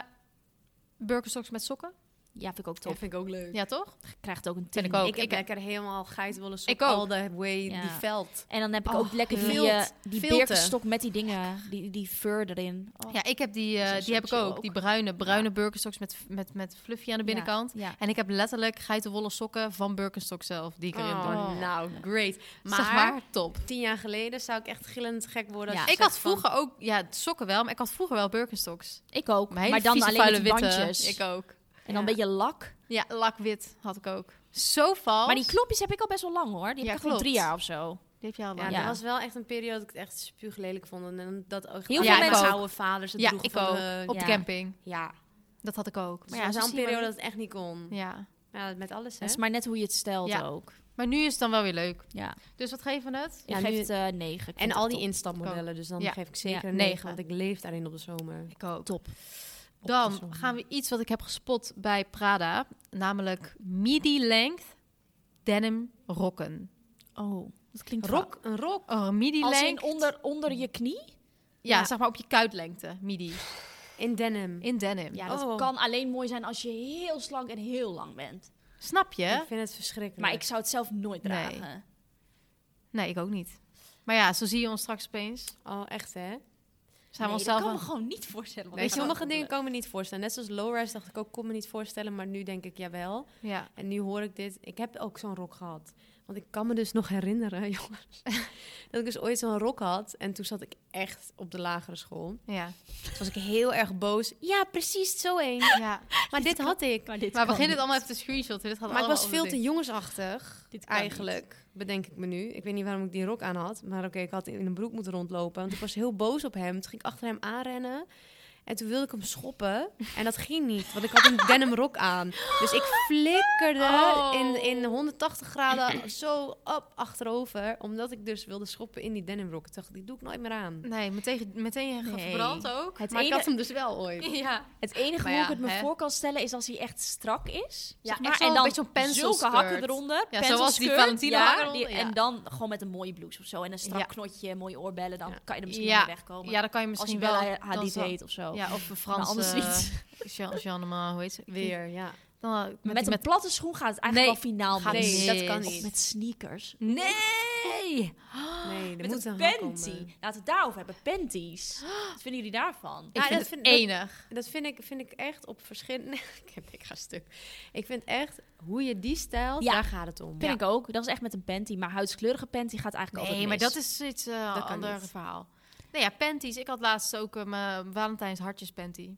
Birkenstocks met sokken. ja, vind ik ook Ja, top. vind ik ook leuk. Ja, toch? Krijgt ook een Vind 10. ik ook. Ik heb lekker helemaal geitwolle Ik sokken. ook. All the way Ja. die veld. En dan heb ik Oh, ook lekker die, vilt. eh, die Vilten. Birkenstock met die dingen, die, die fur erin. Oh, Ja, ik heb die, Dat eh, is een die heb ik soort ook. ook. Die bruine, bruine Birkenstocks met, met, met fluffy aan de binnenkant. Ja. En ik heb letterlijk geitenwolle sokken van Birkenstock zelf, die ik erin doe. Oh, nou, great. Maar, zeg maar, top. tien jaar geleden zou ik echt gillend gek worden. Ja. als je ik zegt had van- vroeger ook, ja, sokken wel, maar ik had vroeger wel Birkenstocks. Ik ook. Mijn hele maar dan vieze, alleen vuile met die witte. bandjes. Ik ook. En dan een beetje lak. Ja, lakwit had ik ook. Zo vals. Maar die klopjes heb ik al best wel lang hoor. Die heb Ja, ik echt al klopt. drie jaar of zo. Die heb je al Ja, wel. dat Ja. was wel echt een periode dat ik het echt spuuglelijk vond. En- En dat ook Heel alle veel mijn mensen- oude vaders het Ja, droegen ik van, ook. eh, Op de ja. camping. ja, Dat had ik ook. maar ja, het was wel zo een periode zie dat het echt niet kon. je maar- Ja. Ja, met alles, hè? Dat is maar net hoe je het stelt Ja. ook. Maar nu is het dan wel weer leuk. Ja. Dus wat geven we het? Ik Ja, geef nu- het eh, negen. Ik En vind al het die top. instapmodellen. Dus dan Ja. geef ik zeker Ja, een negen, negen. want ik leef daarin op de zomer. Ik ook. Top. Dan gaan we iets wat ik heb gespot bij Prada, namelijk midi-length denim rokken. Oh, dat klinkt Rok, Ah. een rok. Oh, midi-length. Als in onder, onder je knie? ja, ja. zeg maar op je kuitlengte, midi. In denim. In denim. Ja, dat Oh. kan alleen mooi zijn als je heel slank en heel lang bent. Snap je? Ik vind het verschrikkelijk. Maar ik zou het zelf nooit Nee. dragen. Nee, ik ook niet. Maar ja, zo zie je ons straks opeens. Zijn Oh, echt, hè? we Nee, dat onszelf kan me aan- gewoon niet voorstellen. wat Nee, ik zou sommige dingen willen. komen niet voorstellen. Net zoals low-rise dacht ik ook, kon me niet voorstellen. Maar nu denk ik, jawel. Ja. En nu hoor ik dit. Ik heb ook zo'n rok gehad. Want ik kan me dus nog herinneren, jongens. dat ik dus ooit zo'n rok had. En toen zat ik echt op de lagere school. Ja. Toen was ik heel erg boos. Ja, precies zo een. ja. Maar dit had ik. Maar, dit Maar we kan beginnen het niet. allemaal even te screenshotten. Dit gaat Maar ik allemaal was over veel dit te jongensachtig, Dit kan eigenlijk, bedenk ik me nu. Ik weet niet waarom ik die rok aan had, maar oké, ik had in een broek moeten rondlopen. Want ik was heel boos op hem. Toen ging ik achter hem aanrennen en toen wilde ik hem schoppen. En dat ging niet, want ik had een denim rok aan. Dus ik flikkerde Oh. in, in 180 graden zo op achterover, omdat ik dus wilde schoppen in die denim rok. Ik dacht, die doe ik nooit meer aan. ding. Nee, meteen, meteen Nee. verbrand ook. Het maar ik ene- had hem dus wel ooit. Ja. Het enige Maar hoe ja, ik het me hè. voor kan stellen is als hij echt strak is. Ja, zeg maar, echt zo'n en dan beetje zo'n pencil zulke hakken skirt. eronder. Ja, pencil zoals die skirt, Valentino ja, hakken eronder, ja. En dan gewoon met een mooie blouse of zo. En een strak Ja. knotje, mooie oorbellen. Dan Ja. kan je er misschien Ja. mee wegkomen. ja, dan kan je als je misschien wel... wel dan Hadid zal- heet of zo. Ja, of een Maar Frans. anders niet. Jean, Jean, hoe heet ze? Weer, ja. Dan, eh, met, Met, die- een met- platte schoen gaat het eigenlijk Nee, wel finaal gaat mis. Nee, mis. dat kan Of niet. met sneakers. Nee! Nee, er Met moet een een eh. hak onder. panty. Laten we het daarover hebben. Panties. Wat vinden jullie daarvan? Ja, Ik vind Nou, dat het vind- dat- enig. Dat vind ik, vind ik echt op verschillende... ik, heb- ik ga stuk. Ik vind echt, hoe je die stijlt, Ja. daar gaat het om. Vind ik ook. Dat is echt met een panty. Maar huidskleurige panty gaat eigenlijk Nee, altijd maar mis. dat is iets eh Dat kan ander niet. verhaal. Nee, ja, panties. Ik had laatst ook eh, mijn Valentijns hartjes panty.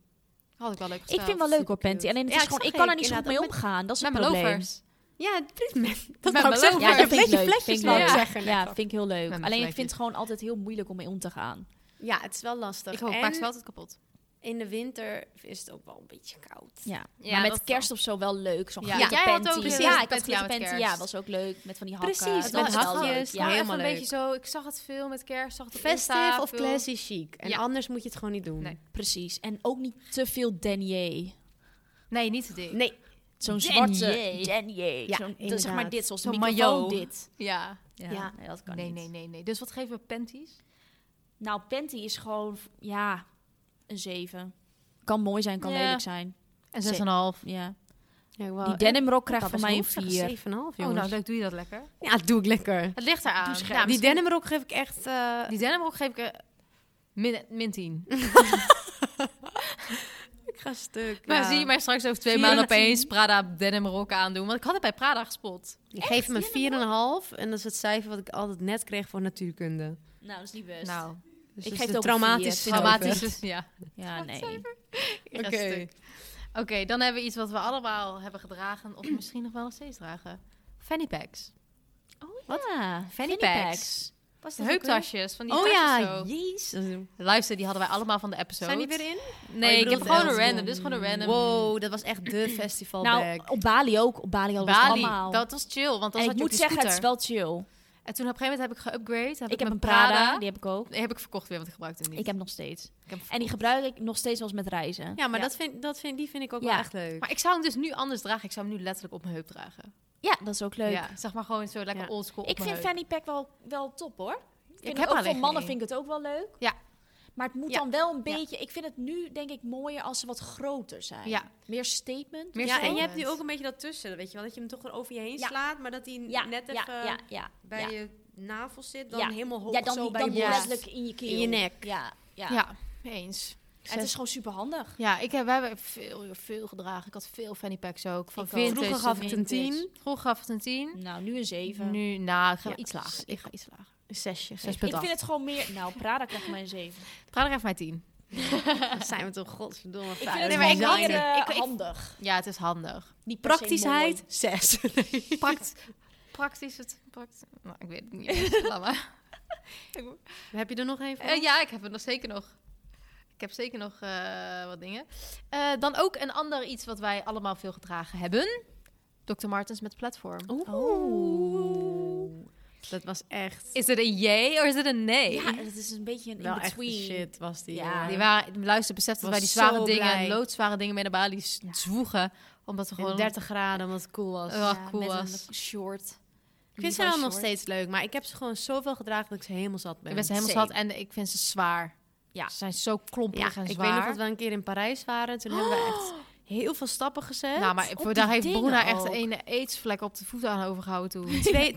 Had ik wel leuk gesteld. Ik vind het wel leuk hoor, Supercute. panty. Alleen het Ja, is ik gewoon, zag ik kan er het niet zo goed mee inderdaad. omgaan. Dat is Met het mijn probleem. lovers. Ja, precies. met- Dat Met wou mijn ik zeggen. leuk. Ja, Ja, dat een vind ik beetje leuk. Vind vlekjes ik wel wil ik leuk. zeggen. Ja, vind ik heel leuk. Met mijn Alleen ik vlekjes. vind het gewoon altijd heel moeilijk om mee om te gaan. Ja, het is wel lastig. Ik hoop, maak ze en wel altijd kapot. in de winter is het ook wel een beetje koud. Ja. Ja, maar dat met kerst of zo wel leuk. Zo'n Ja. glitter Jij had ook panty. precies ja, een ik had panty aan glitter met panty. kerst. Ja, was ook leuk. Met van die hakken. Precies, Dat met was wel hakjes. leuk, Ja. Ja, helemaal even een leuk. beetje zo. Ik zag het veel met kerst. Zag het op Insta, Festive of veel. classy chic. En Ja. anders moet je het gewoon niet doen. Nee. Precies. En ook niet te veel denier. Nee, niet te dik. Nee, Zo'n Denier. zwarte denier. Ja, Zo'n- inderdaad. zeg maar dit, zoals de Zo'n microfoon maillot. dit. Ja. Ja, nee, dat kan nee, niet. nee, nee, nee. Dus wat geven we panties? Nou, panty is gewoon, ja, een zeven. Kan mooi zijn, kan Ja. lelijk zijn. En Zes. 6,5. Ja. Ja, Die denimrok krijgt van mij een 4. 7,5 jongens. Oh, nou leuk, doe je dat lekker. Ja, dat doe ik lekker. Het ligt eraan. scherp. Ja, die die, denimrok geef ik echt... eh, die denimrok geef ik eh, min, min 10. ik ga stuk. Maar ja. zie je mij straks over twee Vier maanden na tien. opeens Prada denimrokken aandoen? Want ik had het bij Prada gespot. Ik geef hem een 4,5. En dat is het cijfer wat ik altijd net kreeg voor natuurkunde. Nou, dat is niet best. Nou, Dus Ik dat geef is het ook een traumatisch. vier. traumatisch. dramatisch. Ja. ja, nee. Oké. Oké. Oké, dan hebben we iets wat we allemaal hebben gedragen. Of misschien nog wel nog steeds dragen. Fanny packs. Wat? Fanny, Ah, packs. Was dat ook weer? Heuptasjes. Van die Oh tasjes ja, zo. jezus. Luister, die hadden wij allemaal van de episode. Zijn die weer in? Nee, je ik heb bedoelt gewoon een Elsevier. random. Dus gewoon een random. Wow, dat was echt de festivalbag. Nou, op Bali ook. Op Bali al was het allemaal. Bali, dat was chill, want dan en ik zat je op moet die zeggen, het is scooter. wel chill. En toen op een gegeven moment heb ik geüpgrade. Heb Ik heb mijn een Prada, die heb ik ook. Die heb ik verkocht weer, want ik gebruikte hem niet. Ik heb nog steeds. Ik heb hem En die gebruik ik nog steeds wel eens met reizen. ja, maar Ja. Dat vind, dat vind, die vind ik ook Ja. wel echt leuk. Maar ik zou hem dus nu anders dragen. Ik zou hem nu letterlijk op mijn heup dragen. Ja, dat is ook leuk. Ja, zeg maar gewoon zo lekker Ja. oldschool op Ik mijn vind heup. fanny pack wel, wel top hoor. Ik vind heb het ook alleen voor geen mannen één. vind ik het ook wel leuk. Ja. Maar het moet Ja. dan wel een Ja. beetje... Ik vind het nu denk ik mooier als ze wat groter zijn. Ja. Meer statement. Meer ja, en je statement. hebt nu ook een beetje dat tussen, weet je wel. Dat je hem toch wel over je heen Ja. slaat, maar dat hij Ja, net ja, even ja, ja, bij ja. je navel zit. Dan Ja. helemaal hoog Ja, dan, zo die- bij dan je borst. letterlijk in je keel. In je nek. Ja, ja. Ja, eens. En het is gewoon super handig. Ja, ik heb, we hebben veel, veel gedragen. Ik had veel fanny packs ook. Van Ik ook. vintage Vroeger tot gaf ik het een vintage. 10. Vroeger gaf ik het een 10. Nou, nu een 7. Nu, nou, ik ga Ja. iets lager. Ik ga iets lager. Een zesje. Zes Ik vind het gewoon meer... Nou, Prada krijgt mij een 7. Prada geeft mij 10. Dat zijn we toch godverdomme Ik vind vuil. het maar ik gewoon wil- meer eh, ik- ik- handig. Ja, het is handig. Niet per se Praktischheid, zes. Prakt, praktisch het... Prakt, nou, ik weet het niet. eens. Laat maar. Heb je er nog één van? Eh, ja, ik heb het nog zeker nog. Ik heb zeker nog eh, wat dingen. Eh, dan ook een ander iets wat wij allemaal veel gedragen hebben. Dr. Martens met platform. Oeh. Dat was echt... Is het een jee of is het een nee? mooi. Ja, het is een beetje een wel echt de in-between. shit was die. Ja. jongen. Die waren, luister, beseft dat Was wij die zware zo dingen, blij. loodzware dingen met de balies zwoegen. Omdat we In gewoon... 30 graden, omdat het cool was. Oh, Ja, cool met was. een short. Ik vind ze Liva wel nog short. steeds leuk, maar ik heb ze gewoon zoveel gedragen dat ik ze helemaal zat ben. Ik ben ze helemaal Same. zat en ik vind ze zwaar. Ja. Ze zijn zo klomperig Ja, en ik zwaar. weet nog dat we een keer in Parijs waren. Toen hebben we echt heel veel stappen gezet. Nou, maar Op voor die daar heeft dingen Bruna echt ook. een aidsvlek op de voet aan overgehouden toen. Twee-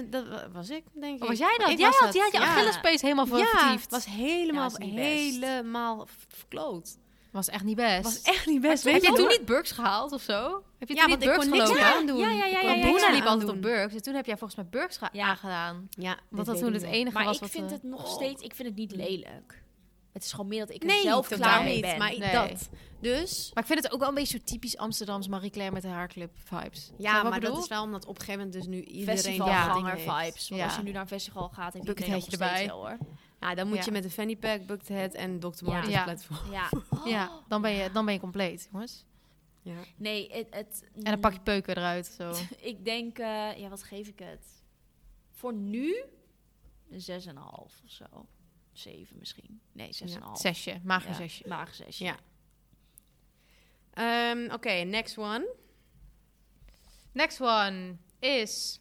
20.000, dat wa- was ik, denk ik. Oh, was jij dat? Ik jij was had, dat, jij had je ja. Achillespees helemaal voor Ja, vertiefd. het was helemaal, Ja, was niet best. helemaal v- verkloot. Was echt niet best. Het was echt niet best. heb Weet je je toen nog? niet Burks gehaald of zo? Heb je Ja, toen want niet ik Burks kon niks gelopen? meer aandoen. Ja, ja, ja, Ik ja, kon ja, Bruna ja. liep altijd op aandoen. Burks. En toen heb jij volgens mij Burks ge- Ja. aangedaan. Ja, Want dat toen het enige Maar was ik wat... vind eh, het nog steeds... Ik vind het niet lelijk. Het is gewoon meer dat ik er Nee, zelf totaal klaar mee niet. ben. Maar Nee. dat. Dus... Maar ik vind het ook wel een beetje zo typisch Amsterdams Marie Claire met haar clip vibes. Snap je Ja, wat ik maar dat bedoel? is wel omdat op een gegeven moment dus nu iedereen dat ding Festivalganger heeft. vibes. Want Ja. als je nu naar een festival gaat, heeft Bucket iedereen dat nog hatje steeds erbij. wel hoor. Ja, dan moet Ja. je met een fanny pack, bucket hat en Dr. Martens Ja. platform. Ja. Oh. Ja, dan ben, je, dan ben je compleet, jongens. Ja. Nee, het... het En dan pak je peuken eruit. Zo. Ik denk... eh, ja, wat geef ik het? Voor nu... Een 6,5 of zo. 7 misschien. Nee, 6,5. Nou. Zesje, maar geen Ja, zesje. Maar een zesje. Ja. Ehm, Oké, next one. Next one is...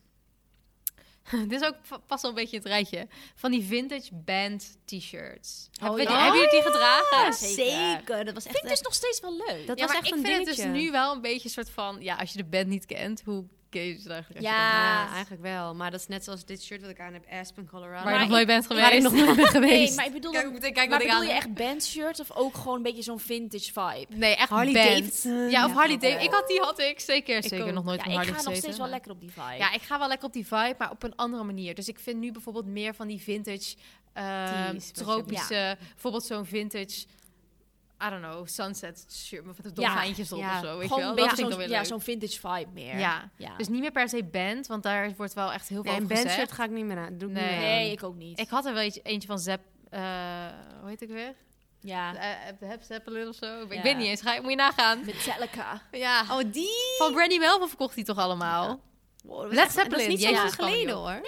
Dit is ook va- past wel een beetje in het rijtje. Van die vintage band t-shirts. Oh, Heb- ja. Hebben jullie die gedragen? Ja, zeker. Dat was Ik vind het dus nog steeds wel leuk. Dat ja, was maar echt ik een vind dingetje. het dus nu wel een beetje een soort van... Ja, als je de band niet kent, hoe ken je ze eigenlijk? als je Ja. dan- Ja, eigenlijk wel. Maar dat is net zoals dit shirt wat ik aan heb, Aspen, Waar Colorado. je Maar nog nooit bent geweest. Waar ik nog nooit ben geweest. Nee, maar ik bedoel, Kijk, dan- ik moet even kijken maar wat ik bedoel aan je heb. echt bandshirts of ook gewoon een beetje zo'n vintage vibe? Nee, echt Harley band. Davidson. Ja, of Ja, Harley dat wel. Davidson. Ik had die, had ik zeker. zeker ook. nog nooit Ja, van ik Harley ga nog steeds gezeten, wel maar- lekker op die vibe. Ja, ik ga wel lekker op die vibe, maar op een andere manier. Dus ik vind nu bijvoorbeeld meer van die vintage, eh, Tees, wat je tropische... Bijvoorbeeld zo'n vintage... I don't know, sunset shirt met de Ja, dolfijntjes op ja. of zo, gewoon weet je een wel? beetje Dat vind ik dan zo'n weer ja, leuk. zo'n vintage vibe meer. Ja. Ja. dus niet meer per se band, want daar wordt wel echt heel veel Nee, een over gezegd. bandshirt ga ik niet meer aan. Doe ik Nee. niet meer aan. nee, ik ook niet. Ik had er wel eentje, eentje van Zep... eh, hoe heet ik weer? ja. Eh, Heb Zeppelin of zo? Ik Ah. Ja. weet niet eens. Ga, je- moet je nagaan. Metallica. Ja. Oh, die! Van Brandy Melville verkocht hij toch allemaal? Wow, dat was Led echt- Dat is Zeppelin, niet zo jezus, lang kan die geleden ook. hoor.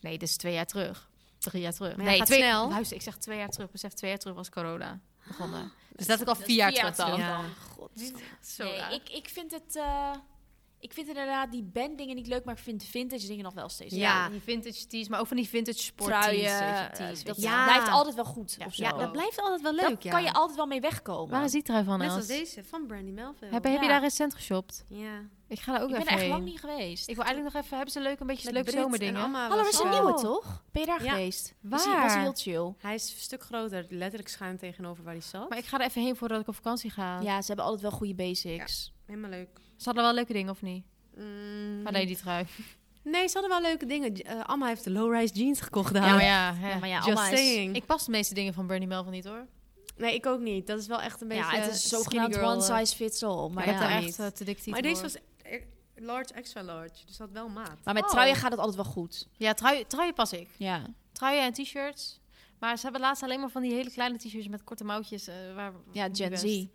Nee, dit is twee jaar terug. Drie jaar terug. Maar ja, nee, gaat twee, snel. Luister, ik zeg twee jaar terug. Besef, twee jaar terug was corona begonnen. dus dat ik al vier jaar terug dan. Ja. Zo nee, raar. ik, ik vind het... eh, Ik vind inderdaad die banddingen niet leuk, maar ik vind vintage dingen nog wel steeds Ja. die vintage tees, maar ook van die vintage sporttees. Truien, weet je, eh, tees, dat weet je. Ja. blijft altijd wel goed. Ja, of zo. ja, dat blijft altijd wel leuk, Daar ja. kan je altijd wel mee wegkomen. Waar is die trui van, Net Els? als deze, van Brandy Melville. Heb, heb je Ja. daar recent geshopt? Ja. Ik ga daar ook ik ben even er echt heen. lang niet geweest. Ik wil eigenlijk nog even, hebben ze leuk een beetje leuke Brit en zomerdingen? Amma Hallo, er was is een er. nieuwe, toch? oh. Ben je daar Ja. geweest? Waar? Was, was heel chill. Hij is een stuk groter, letterlijk schuin tegenover waar hij zat. Maar ik ga er even heen voordat ik op vakantie ga. Ja, ze hebben altijd wel goede basics. Helemaal leuk. Ze hadden wel leuke dingen, of niet? Mm. Alleen die trui. Nee, ze hadden wel leuke dingen. Eh, Amma heeft de low-rise jeans gekocht daar. Ja, maar ja. hè. Ja, maar ja, Just allemaal is- saying. Ik pas de meeste dingen van Bernie Melville niet, hoor. Nee, ik ook niet. Dat is wel echt een beetje... Ja, het is skinny zogenaamd girl, one eh. size fits all. Maar, Maar ik heb ja. daar niet. echt eh, te dik tieten Maar deze voor. was eh, large, extra large. Dus dat wel maat. maar met Oh. truien gaat het altijd wel goed. Ja, trui, truien pas ik. Ja. Truien en t-shirts. Maar ze hebben laatst alleen maar van die hele kleine t-shirts met korte mouwtjes. eh, waar, Ja, niet Gen best. Z.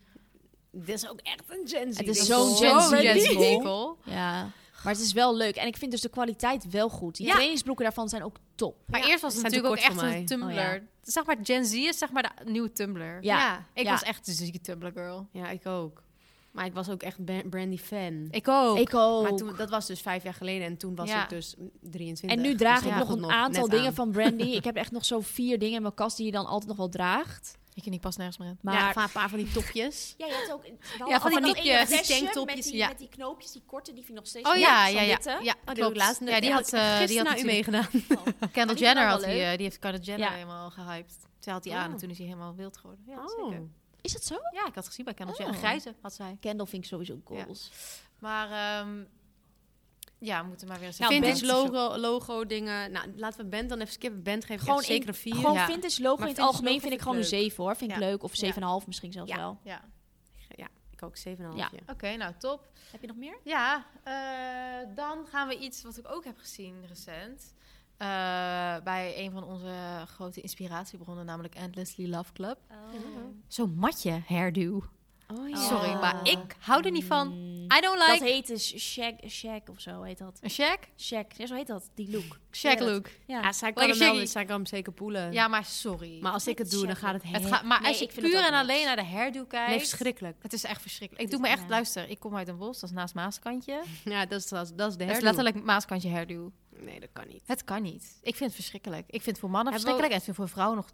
Dit is ook echt een Gen Z. Het is ding. zo'n Zo "Oh, Gen Z ready. ding. winkel. Ja. Maar het is wel leuk. En ik vind dus de kwaliteit wel goed. Die trainingsbroeken daarvan zijn ook top. Maar eerst was het Zijn te natuurlijk ook kort echt voor een Tumblr. Oh, Zeg maar, Gen Z is zeg maar de nieuwe Tumblr. Ja. Ik Ja. was echt een zieke Tumblr girl. Ja, ik ook. Maar ik was ook echt Ban- Brandy fan. Ik ook. Ik ook. Maar toen, dat was dus vijf jaar geleden en toen was Ja. ik dus 23. en nu draag Dus ik dat nog komt een aantal net dingen aan. van Brandy. ik heb echt nog zo vier dingen in mijn kast die je dan altijd nog wel draagt. Ik en ik pas nergens meer in. Maar Ja, van een paar van die topjes. Ja, je hebt ook Ja, van die nopjes. Tanktopjes, met die, ja. met die knoopjes, die korte, die vind ik nog steeds Oh leuk, ja, zo'n ja, ja. witte. ja Oh, die heb klopt. ik laatst net ja, die had, eh, die had gisteren naar u natuurlijk- meegedaan. Kendall die Jenner waren had wel die, leuk. eh, die heeft Kendall Jenner Ja. helemaal gehyped. Toen had hij aan en Oh. toen is hij helemaal wild geworden. Ja, Oh. zeker. Is dat zo? Ja, ik had gezien bij Kendall Oh. Jenner. Grijze had zij. Kendall vind ik sowieso goals. Maar ehm, ja, we moeten maar weer eens Nou, even- vintage Bent- logo, logo dingen. Nou, laten we Bent dan even skippen. Bent geeft Gewoon gewoon zeker in- een vier. Gewoon ja. vintage logo Maar in het vintage algemeen logo vind ik vind gewoon ik een 7 hoor. Vind ik Ja. leuk. Of 7,5 misschien zelfs Ja. wel. Ja, Ja, ik ook 7,5. Ja. Ja. oké, nou top. Heb je nog meer? Ja, eh, dan gaan we iets wat ik ook heb gezien recent. eh, bij een van onze grote inspiratiebronnen, namelijk Endlessly Love Club. Oh. Zo'n matje hairdo. Oh, Sorry, maar ik hou er niet van. Hmm. I don't Dat like... heet dus shag, shag of zo heet dat. Een shag? Shag. Ja, zo heet dat. Die look. Shag Ja, dat- look. Ja. Ja, zij kan, Lekker hem wel, shaggy. zij kan hem zeker poelen. Ja, maar sorry. Maar als ik het doe, dan gaat het het helemaal... gaat, maar Nee, als je ik vind het puur ook en alleen niks. naar de hairdo kijkt... Nee, verschrikkelijk. Het is echt verschrikkelijk. Ik doe me echt... ja. Luister, ik kom uit een bos, dat is naast Maaskantje. Ja, dat is, dat is, dat is de Dat is hairdo. letterlijk Maaskantje hairdo. Nee, dat kan niet. Het kan niet. Ik vind het verschrikkelijk. Ik vind het voor mannen Hebben we verschrikkelijk en ik vind het voor vrouwen nog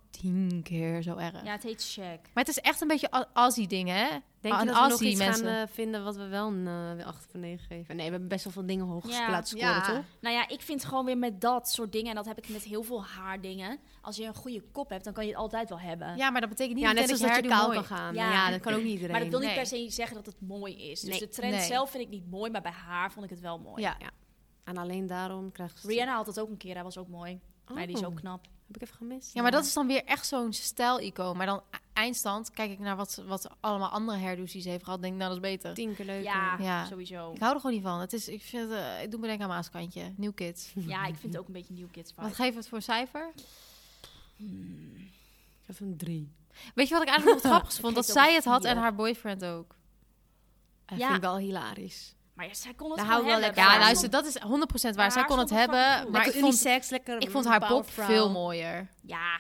tien keer zo erg. Ja, het heet shag. Maar het is echt een beetje a- Aussie ding, hè? Ah, Denk je Een dat we Oh, nog Aussie iets mensen. gaan eh, vinden wat we wel een eh, weer 8 van 9 geven? Nee, we hebben best wel veel dingen hoog Ja. gescoord laten scoren, Ja. toch? Nou ja, ik vind gewoon weer met dat soort dingen, en dat heb ik met heel veel haardingen. Als je een goede kop hebt, dan kan je het altijd wel hebben. Ja, maar dat betekent niet eh, Ja, net meteen zoals dat hairdo je kaal mooi- kan gaan. Ja. Ja. dat kan ook niet iedereen. maar dat wil niet nee. per se zeggen dat het mooi is. Dus Nee. de trend Nee. zelf vind ik niet mooi, maar bij haar vond ik het wel mooi. Ja. En alleen daarom krijg je... Rihanna had dat ook een keer, hij was ook mooi. Maar die is Oh. ook knap. Heb ik even gemist? ja, maar dat is dan weer echt zo'n stijl-icoon. Maar dan e- eindstand kijk ik naar wat, wat allemaal andere hairdo's die ze heeft gehad. Denk ik, nou, dat is beter. tien keer leuk. Ja, Ja. sowieso. Ik hou er gewoon niet van. Het is, ik, vind, het, eh, ik doe me denken aan Maaskantje. New Kids. Ja, ik vind het ook een beetje New Kids Wat vibe. geven we het voor cijfer? Ik geef hem drie. Weet je wat ik eigenlijk nog het grappigst Ik vond? Dat geef het ook zij het een had en vier. haar boyfriend ook. Dat Ja. vind ik wel hilarisch. Maar ja, zij kon het Daar gewoon hou ik hebben. wel lekker Ja, haar luister, stond- dat is 100% waar. Maar zij haar kon het stond het fucking hebben, goed. maar ik vond, lekker ik vond haar pop powervrouw. veel mooier. Ja,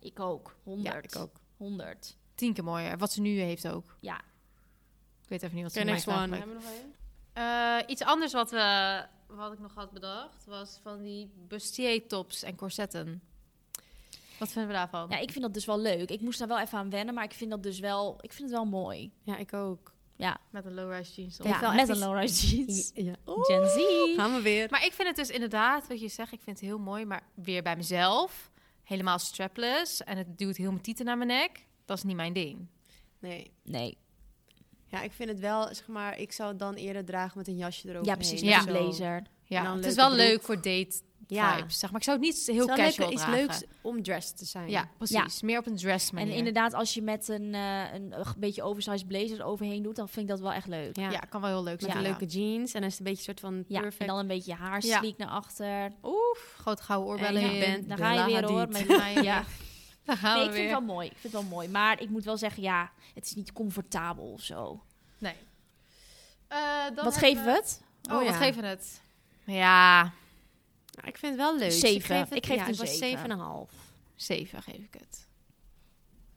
ik ook. 100. Ja, ik ook. 100. Tien keer mooier. Wat ze nu heeft ook. Ja. Ik weet even niet wat ze Oké, maakt next one. eigenlijk. Eh, iets anders wat, we, wat ik nog had bedacht was van die bustier tops en corsetten. Wat vinden we daarvan? ja, ik vind dat dus wel leuk. Ik moest daar wel even aan wennen, maar ik vind dat dus wel, ik vind het wel mooi. Ja, ik ook. Met een low-rise jeans op. Ja. wel met echt een iets- low-rise jeans. Ja. Oh, Gen Z. Gaan we weer. Maar ik vind het dus inderdaad, wat je zegt, ik vind het heel mooi, maar weer bij mezelf. Helemaal strapless en het duwt heel mijn tieten naar mijn nek. Dat is niet mijn ding. Nee. Nee. Ja, ik vind het wel, zeg maar, ik zou het dan eerder dragen met een jasje erover. Ja, precies. Ja. Met een blazer. En Ja, dan het is leuke wel broek. leuk voor date Ja. vibes, zeg maar. Ik zou het niet heel Het is wel casual lekker, iets dragen. leuks om dressed te zijn. Ja, precies. Meer op een dress En manier. inderdaad, als je met een, eh, een eh, beetje oversized blazer overheen doet, dan vind ik dat wel echt leuk. ja. ja. kan wel heel leuk Met zijn. een ja. leuke jeans. En dan is het een beetje een soort van Ja, perfect. en dan een beetje je haar Ja. sleek naar achter. Oef, grote gouden oorbellen En in. ik ben- Daar de ga je La weer hoor. Hadid. Met mij, ja. Daar gaan Nee, we ik vind weer. het wel mooi. Ik vind het wel mooi. Maar ik moet wel zeggen, ja, het is niet comfortabel of zo. Nee. Eh, dan Wat hebben geven we het? Oh, Oh, wat ja. geven we het? Ja, Ja, Nou, ik vind het wel leuk. Zeven. Ik geef het, Ik geef ja, het een was zeven. 7,5. zeven geef ik het.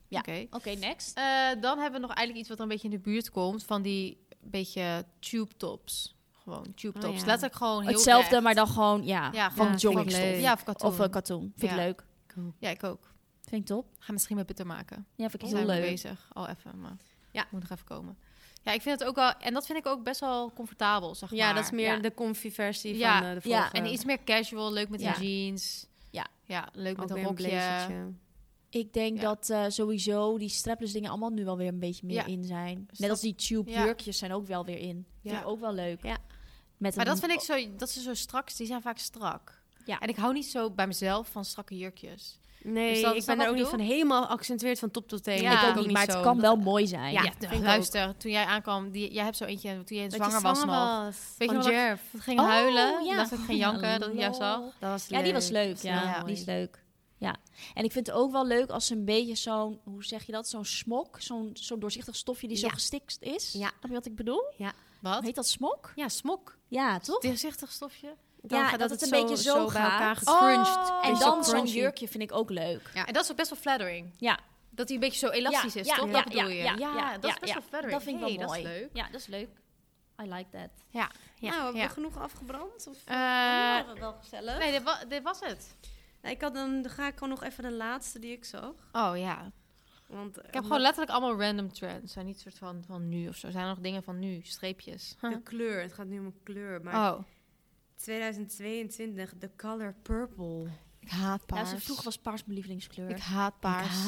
Ja. Oké. Oké, next. Eh, dan hebben we nog eigenlijk iets wat een beetje in de buurt komt van die beetje tube tops. Gewoon tube tops. Oh, ja. Letterlijk gewoon heel Hetzelfde, recht. maar dan gewoon, ja. Ja, van van jongstof. jongstof. Ja, of katoen. Of eh, een katoen. Vind ik Ja. leuk. Ja, ik ook. Vind ik top. Ga misschien met bitter maken. Ja, vind ik heel We zijn mee leuk. bezig al even, maar Ja. moet nog even komen. Ja, ik vind het ook wel... En dat vind ik ook best wel comfortabel, zeg Ja, maar. dat is meer Ja. de comfy versie Ja, van eh, de ja, vorige. En iets meer casual, leuk met Ja. een jeans. Ja. Ja, leuk Ook met een weer rokje. blazertje. Ik denk Ja. dat eh, sowieso die strapless dingen allemaal nu wel weer een beetje meer Ja. in zijn. Net Dus dat- als die tube Ja. jurkjes zijn ook wel weer in. Vind Ja. ik ook wel leuk. Ja. Met Maar een- dat vind ik zo... Dat ze zo strak... Die zijn vaak strak. Ja. En ik hou niet zo bij mezelf van strakke jurkjes. Nee, Dus dat- ik snap ben wat er ook ik niet van bedoel? helemaal accentueerd van top tot teen. Ja. ik Ja, ook niet, niet maar het zo. kan Dat- wel mooi zijn. Ja, Ja, vind ik ook. luister. Toen jij aankwam... Die, jij hebt zo eentje... Toen jij Dat je zwanger, was nog. was. Weet je Van nog dat- Jerv. Dat ging Oh, huilen. ja. Dat ik ging janken. Dat ik jou zag. Dat was Ja, die was leuk. Ja, Ja. die is leuk. Ja, en ik vind het ook wel leuk als ze een beetje zo'n, hoe zeg je dat, zo'n smok, zo'n zo'n doorzichtig stofje die zo Ja. gestikt is. Ja. Snap je wat ik bedoel? Wat? Heet dat smok? Ja, smok. Ja, toch? Doorzichtig stofje. Dan Ja, gaat dat het een beetje zo bij gaat. elkaar gecrunched. Oh. En Dus dan zo zo'n crunchy. jurkje vind ik ook leuk. Ja. En dat is ook best wel flattering. Ja. Dat hij een beetje zo elastisch Ja, is, ja, toch? ja, dat bedoel ja, je? ja, ja, dat is ja, ja. best wel flattering. Dat vind ik wel Hey, dat is mooi. leuk. Ja, dat is leuk. I like that. Ja. Nou, hebben Ja. we genoeg afgebrand? Of Eh, waren we wel gezellig? nee, dit, wa- dit was het. Nou, ik had dan, dan ga ik gewoon nog even de laatste die ik zag. Oh ja. Want, eh, Ik heb gewoon letterlijk allemaal random trends. Zijn niet soort van, van nu of zo. Zijn er nog dingen van nu? Streepjes. Huh. de kleur. Het gaat nu om een kleur. Maar Oh. 2022, de color purple. Ik haat Ja, paars. Nou, ze vroeger was paars mijn lievelingskleur. Ik haat paars.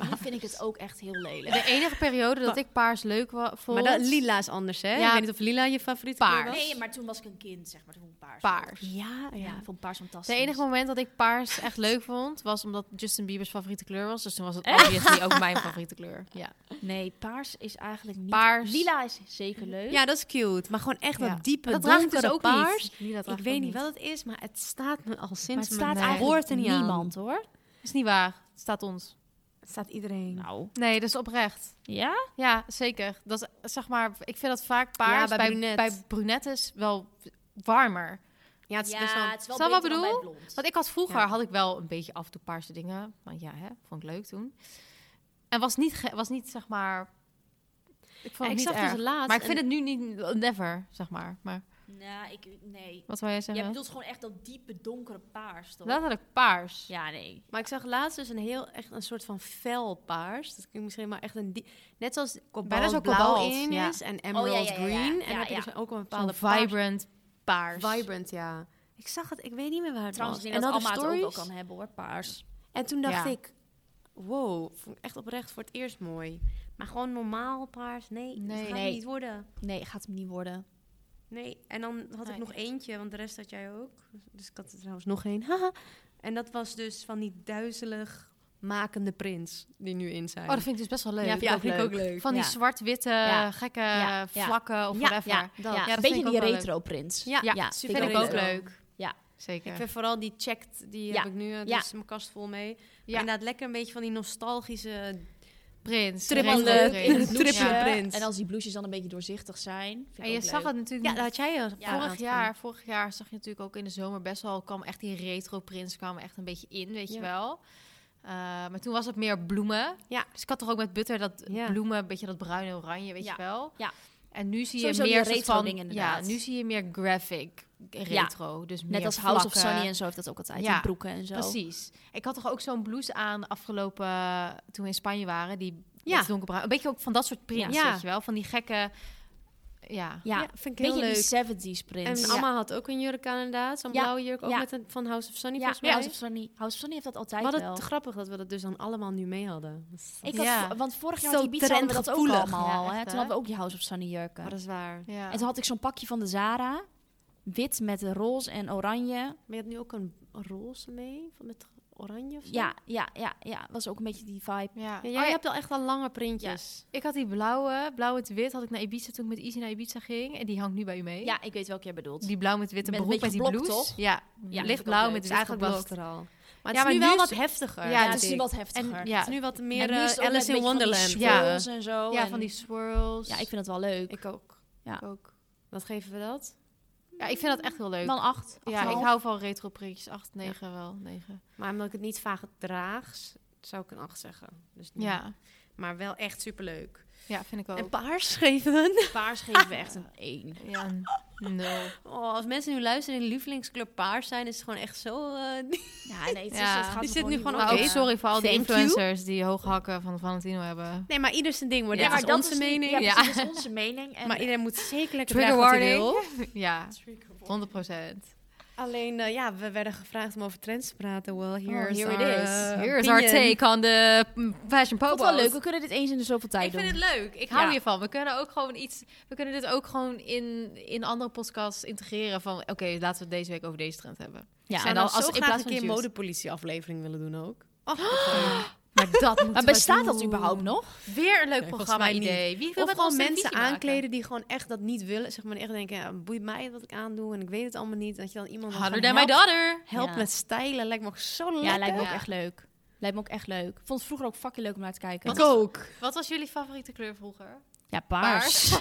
en nu vind ik het ook echt heel lelijk. De enige periode dat ik paars leuk wa- vond... Maar dat, lila is anders, hè? Ja. Ik weet niet of lila je favoriet Paars. was. Nee, maar toen was ik een kind, zeg maar. Toen vond ik paars. Paars. Ja, Ja, ja. ik vond paars fantastisch. Het enige moment dat ik paars echt leuk vond, was omdat Justin Bieber's favoriete kleur was. Dus toen was het obviously ook mijn favoriete kleur. Ja. Nee, paars is eigenlijk niet... Paars. Lila is zeker leuk. Ja, dat is cute. Maar gewoon echt Ja. dat diepe, Dat draag ik donkere dus ook paars. niet. Lila draag Ik weet niet wat het is, maar het staat me al maar sinds het staat mijn eigenlijk geboorte niet aan. niemand, hoor. Is niet waar. Het staat ons. Het staat iedereen. Nou. Nee, dat is oprecht. Ja? Ja, zeker. Dat is, zeg maar, ik vind dat vaak paars Ja, bij bij, brunet. bij brunettes wel warmer. ja, het is best wel... het is wel Snap wat beter dan bedoel? bij blond. Want ik had vroeger Ja. had ik wel een beetje af en toe paarse dingen, want ja, hè, vond ik leuk toen. En was niet ge- was niet zeg maar. Ik vond Ja, het ik niet zag erg. dus laatst... maar ik een- vind het nu niet never zeg maar. Maar Nou, ik... Nee. wat wil jij Jij zeggen? bedoelt gewoon echt dat diepe, donkere paars, toch? Letterlijk paars. Ja, nee. Maar ik zag laatst dus een heel echt een soort van fel paars. Dat klinkt misschien maar echt een die- net zoals Bijna zo kobaltblauw kobalt, in ja. is en emerald ja, ja, ja, ja. green. Ja, En dan heb je ja. dus ook een Zo'n bepaalde paars- vibrant paars. Vibrant, ja. Ik zag het, ik weet niet meer waar het Trouwens, ik was. denk dat dan de Alma het ook wel stories. kan hebben, hoor. Paars. En toen dacht Ja. ik, wow, vond ik echt oprecht voor het eerst mooi. Maar gewoon normaal paars, nee, dat Nee, gaat nee. het niet worden. Nee, gaat hem niet worden. Nee, en dan had Nee. ik nog eentje, want de rest had jij ook. Dus ik had er trouwens nog één. Haha. en dat was dus van die duizelig makende prins die nu in zijn. Oh, dat vind ik dus best wel leuk. Ja, vind ik ook leuk. Van die Ja. zwart-witte, Ja. gekke Ja. vlakken of whatever. ja, dat. Ja, dat een vind beetje ik ook die wel leuk. retro-prins. Ja, ja, super Vind, Vind ik ik ook leuk. leuk. Ja. Zeker. Ik vind vooral die checked, die Ja. heb ik nu. eh, Ja. Dus mijn kast vol mee. Ja. Inderdaad, lekker een beetje van die nostalgische... prins. Trippelende- Rainbow in het prins. trippelende Ja. prins. En als die blouses dan een beetje doorzichtig zijn. Vind ik En je ook zag leuk. het natuurlijk Ja, niet- dat had jij eh, Ja. vooraf vorig jaar. Vorig jaar zag je natuurlijk ook in de zomer best wel... kwam echt die retro prins kwam echt een beetje in, weet Ja. je wel. Eh, maar toen was het meer bloemen. Ja. Dus ik had toch ook met butter dat Ja. bloemen, een beetje dat bruin en oranje, weet Ja. je wel. Ja. En nu zie Sowieso je die meer soort retro van, dingen Ja, inderdaad. nu zie je meer graphic retro. Dus Net meer als House of vlakken. Sunny en zo heeft dat ook altijd. Ja, die broeken en zo. Precies. Ik had toch ook zo'n blouse aan afgelopen toen we in Spanje waren, die Ja. met donkerbruin. Een beetje ook van dat soort prints, Ja. weet je wel, van die gekke ja. Ja, Ja, vind ik heel beetje leuk. die 70s En prins. Amma had ook een jurk aan inderdaad. Zo'n Ja. blauwe jurk, ook Ja. met een, van House of Sunny ja, volgens ja, mij. House of Sunny. House of Sunny heeft dat altijd Wat wel. het grappig dat we dat dus dan allemaal nu mee hadden. Ik had, Ja. vo- Want vorig jaar Zo had Ibiza hadden we dat ook trendgevoelig. allemaal. Ja, hè? echt, Toen hè? hadden we ook die House of Sunny jurken. Maar dat is waar. Ja. En toen had ik zo'n pakje van de Zara. Wit met roze en oranje. Maar je had nu ook een roze mee, van met oranje of zo? Ja, ja, ja, ja. Was ook een beetje die vibe. Ja. Ja, Oh jij ja, hebt al echt al lange printjes. ik had die blauwe, blauw met wit, had ik naar Ibiza toen ik met Izzy naar Ibiza ging en die hangt nu bij u mee. Ja, ik weet welke jij bedoelt. Die blauw met witte Met een broek met beetje die geblokt, blouse. toch? Ja, vind ik lichtblauw ook met leuk. wit geblokt. er al. Dus Ja, Maar het is maar nu nu wel is- wat heftiger. Ja, ja, het dus is denk nu ik. wat En heftiger. het Ja. is nu wat En meer nu is eh, het ook Alice met in een beetje van die Wonderland. swirls en zo. Ja, en- van die swirls. Ja, ik vind het wel leuk. Ik ook. Ja. ook. Wat geven we dat? Ja, ik vind dat echt heel leuk. Dan acht. ja, ik hou van retro printjes 8, 9 wel, 9. Maar omdat ik het niet vaak draag, s- zou ik een 8 zeggen. Dus nu- Ja. Maar wel echt superleuk. Ja, vind ik ook. En paars geven we Paars geven we echt een 1. ja, een nul. een- Oh, als mensen nu luisteren en hun lievelingskleur paars zijn, is het gewoon echt zo... eh, Ja, nee, het is, Ja. het gaat Die me zit nu niet gewoon worden. Maar ook Oké. sorry voor al die Thank you. influencers die hoge hakken van Valentino hebben. nee, maar ieder zijn ding. Maar Ja, dit maar is dat onze is niet- mening. Ja, Ja. precies, dat is onze mening. En Maar iedereen moet zeker lekker Trigger dragen wat hij warning. wil. Ja, 100 procent. Alleen, eh, ja, we werden gevraagd om over trends te praten. Well, here's here it our, is. eh, Here's our opinion. take on the mm, fashion ik popo. vond het wel leuk. We kunnen dit eens in de zoveel tijd Ik vind doen. het leuk. Ik hou Ja. hiervan. We kunnen ook gewoon iets. We kunnen dit ook gewoon in, in andere podcasts integreren. Van oké, laten we het deze week over deze trend hebben. ja. En En dan dan als als- zo in graag plaats een van keer juice. modepolitie aflevering willen doen ook. Maar dat moet Maar bestaat dat überhaupt nog? Weer een leuk Nee, volgens programma mij niet. idee. Wie wil Of met gewoon ons een mensen visie maken? aankleden die gewoon echt dat niet willen. Zeg maar echt denken, ja, boeit mij wat ik aandoe en ik weet het allemaal niet. Dat je dan iemand dan Harder than gewoon my helpt, daughter. helpt Ja. met stijlen. Lijkt me ook zo lekker. Ja, lijkt me ook Ja. echt leuk. Lijkt me ook echt leuk. Ik vond het vroeger ook fucking leuk om naar te kijken. Wat- ook. Wat was jullie favoriete kleur vroeger? Ja, paars.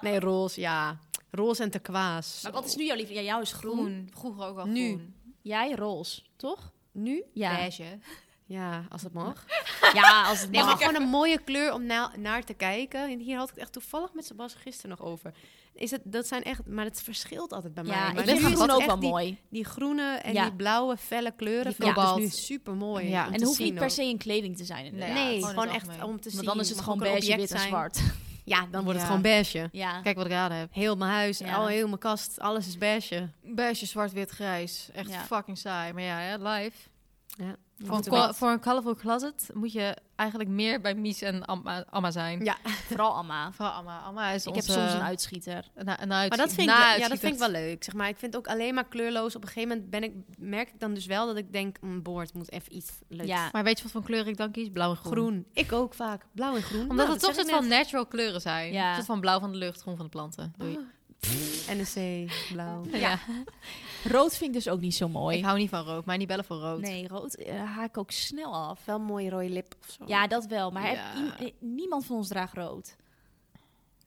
Nee, roze, ja. Roze en turquoise. Maar wat is nu jouw liefde? Ja, jou is groen. Groen. Vroeger ook al Nu. groen. Jij roze, toch? Nu? Ja. Beige. Ja, als het mag. Ja, als het Nee, maar mag. gewoon een mooie kleur om na- naar te kijken. En hier had ik het echt toevallig met Sebastian gisteren nog over. Is het, dat zijn echt, maar het verschilt altijd bij mij. Ja, maar ik vind nu is groen het ook echt wel die- mooi. Die groene en Ja. die blauwe felle kleuren Die vind ik kobalt. dus nu super mooi. Ja. om En te En het hoeft zien niet per ook. se in kleding te zijn. Nee, Ja, inderdaad. gewoon in het gewoon echt algemeen. om te zien. Want dan is het Mag gewoon ook een beige, object wit en zijn. zwart. Ja, dan wordt het Ja. gewoon beige. Ja. Kijk wat ik aan heb. Heel mijn huis, Ja. al heel mijn kast, alles is beige. Beige, zwart, wit, grijs. Echt Ja. fucking saai. Maar ja, ja live. Voor een, Moeten col- we- voor een colorful closet moet je eigenlijk meer bij Mies en Amma, Amma zijn. Ja. Vooral Amma. Vooral Amma. Amma is Ik heb onze... soms eh, een uitschieter. na- een uitzie- Maar dat vind, na- ik, wel- ja, dat uitschieter. vind ik wel leuk. Zeg maar, ik vind ook alleen maar kleurloos. Op een gegeven moment ben ik, merk ik dan dus wel dat ik denk, een boord moet even iets leuks. Ja. Maar weet je wat voor kleur ik dan kies? Blauw en groen. Groen. Ik ook vaak. Blauw en groen. Omdat Nou, het toch dat soort zeg ik van natural kleuren zijn. Ja. Een soort van blauw van de lucht, groen van de planten. Doei. net. NEC, blauw. Ja. Rood vind ik dus ook niet zo Ik mooi. hou niet van rood, maar niet bellen voor rood. Nee, rood eh, haak ik ook snel af. Wel een mooie rode lip of zo. Ja, dat wel. Maar heb Ja. iem- eh, niemand van ons draagt rood. Dat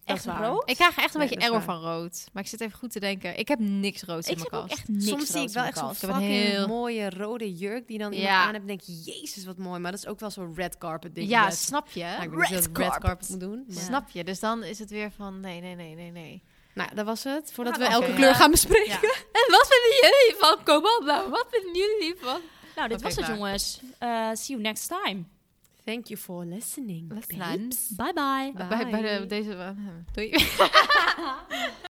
Echt is waar. rood? Ik krijg echt een Nee, beetje dat is error van rood. Maar ik zit even goed te denken. Ik heb niks roods Ik in heb mijn ook kast. echt niks Soms zie ik roods wel in echt mijn zo'n kast. Ik heb een fucking heel- mooie rode jurk die dan iemand Ja. aan hebt. En denk je, jezus, wat mooi. Maar dat is ook wel zo'n red carpet ding. Ja, met- snap je? Nou, ik weet niet of je dat red carpet moet doen. maar- Snap je? Dus dan is het weer van nee, nee, nee, nee, nee. Nou, dat was het. Voordat Ah, we oké. elke Ja. kleur gaan bespreken. En wat vinden jullie van Kobaltblauw? Wat vinden jullie van? Nou, dit Oké, was het klaar. jongens. Eh, see you next time. Thank you for listening. Lessons. Bye bye. Bye. Bij, bij de, deze. eh, Doei.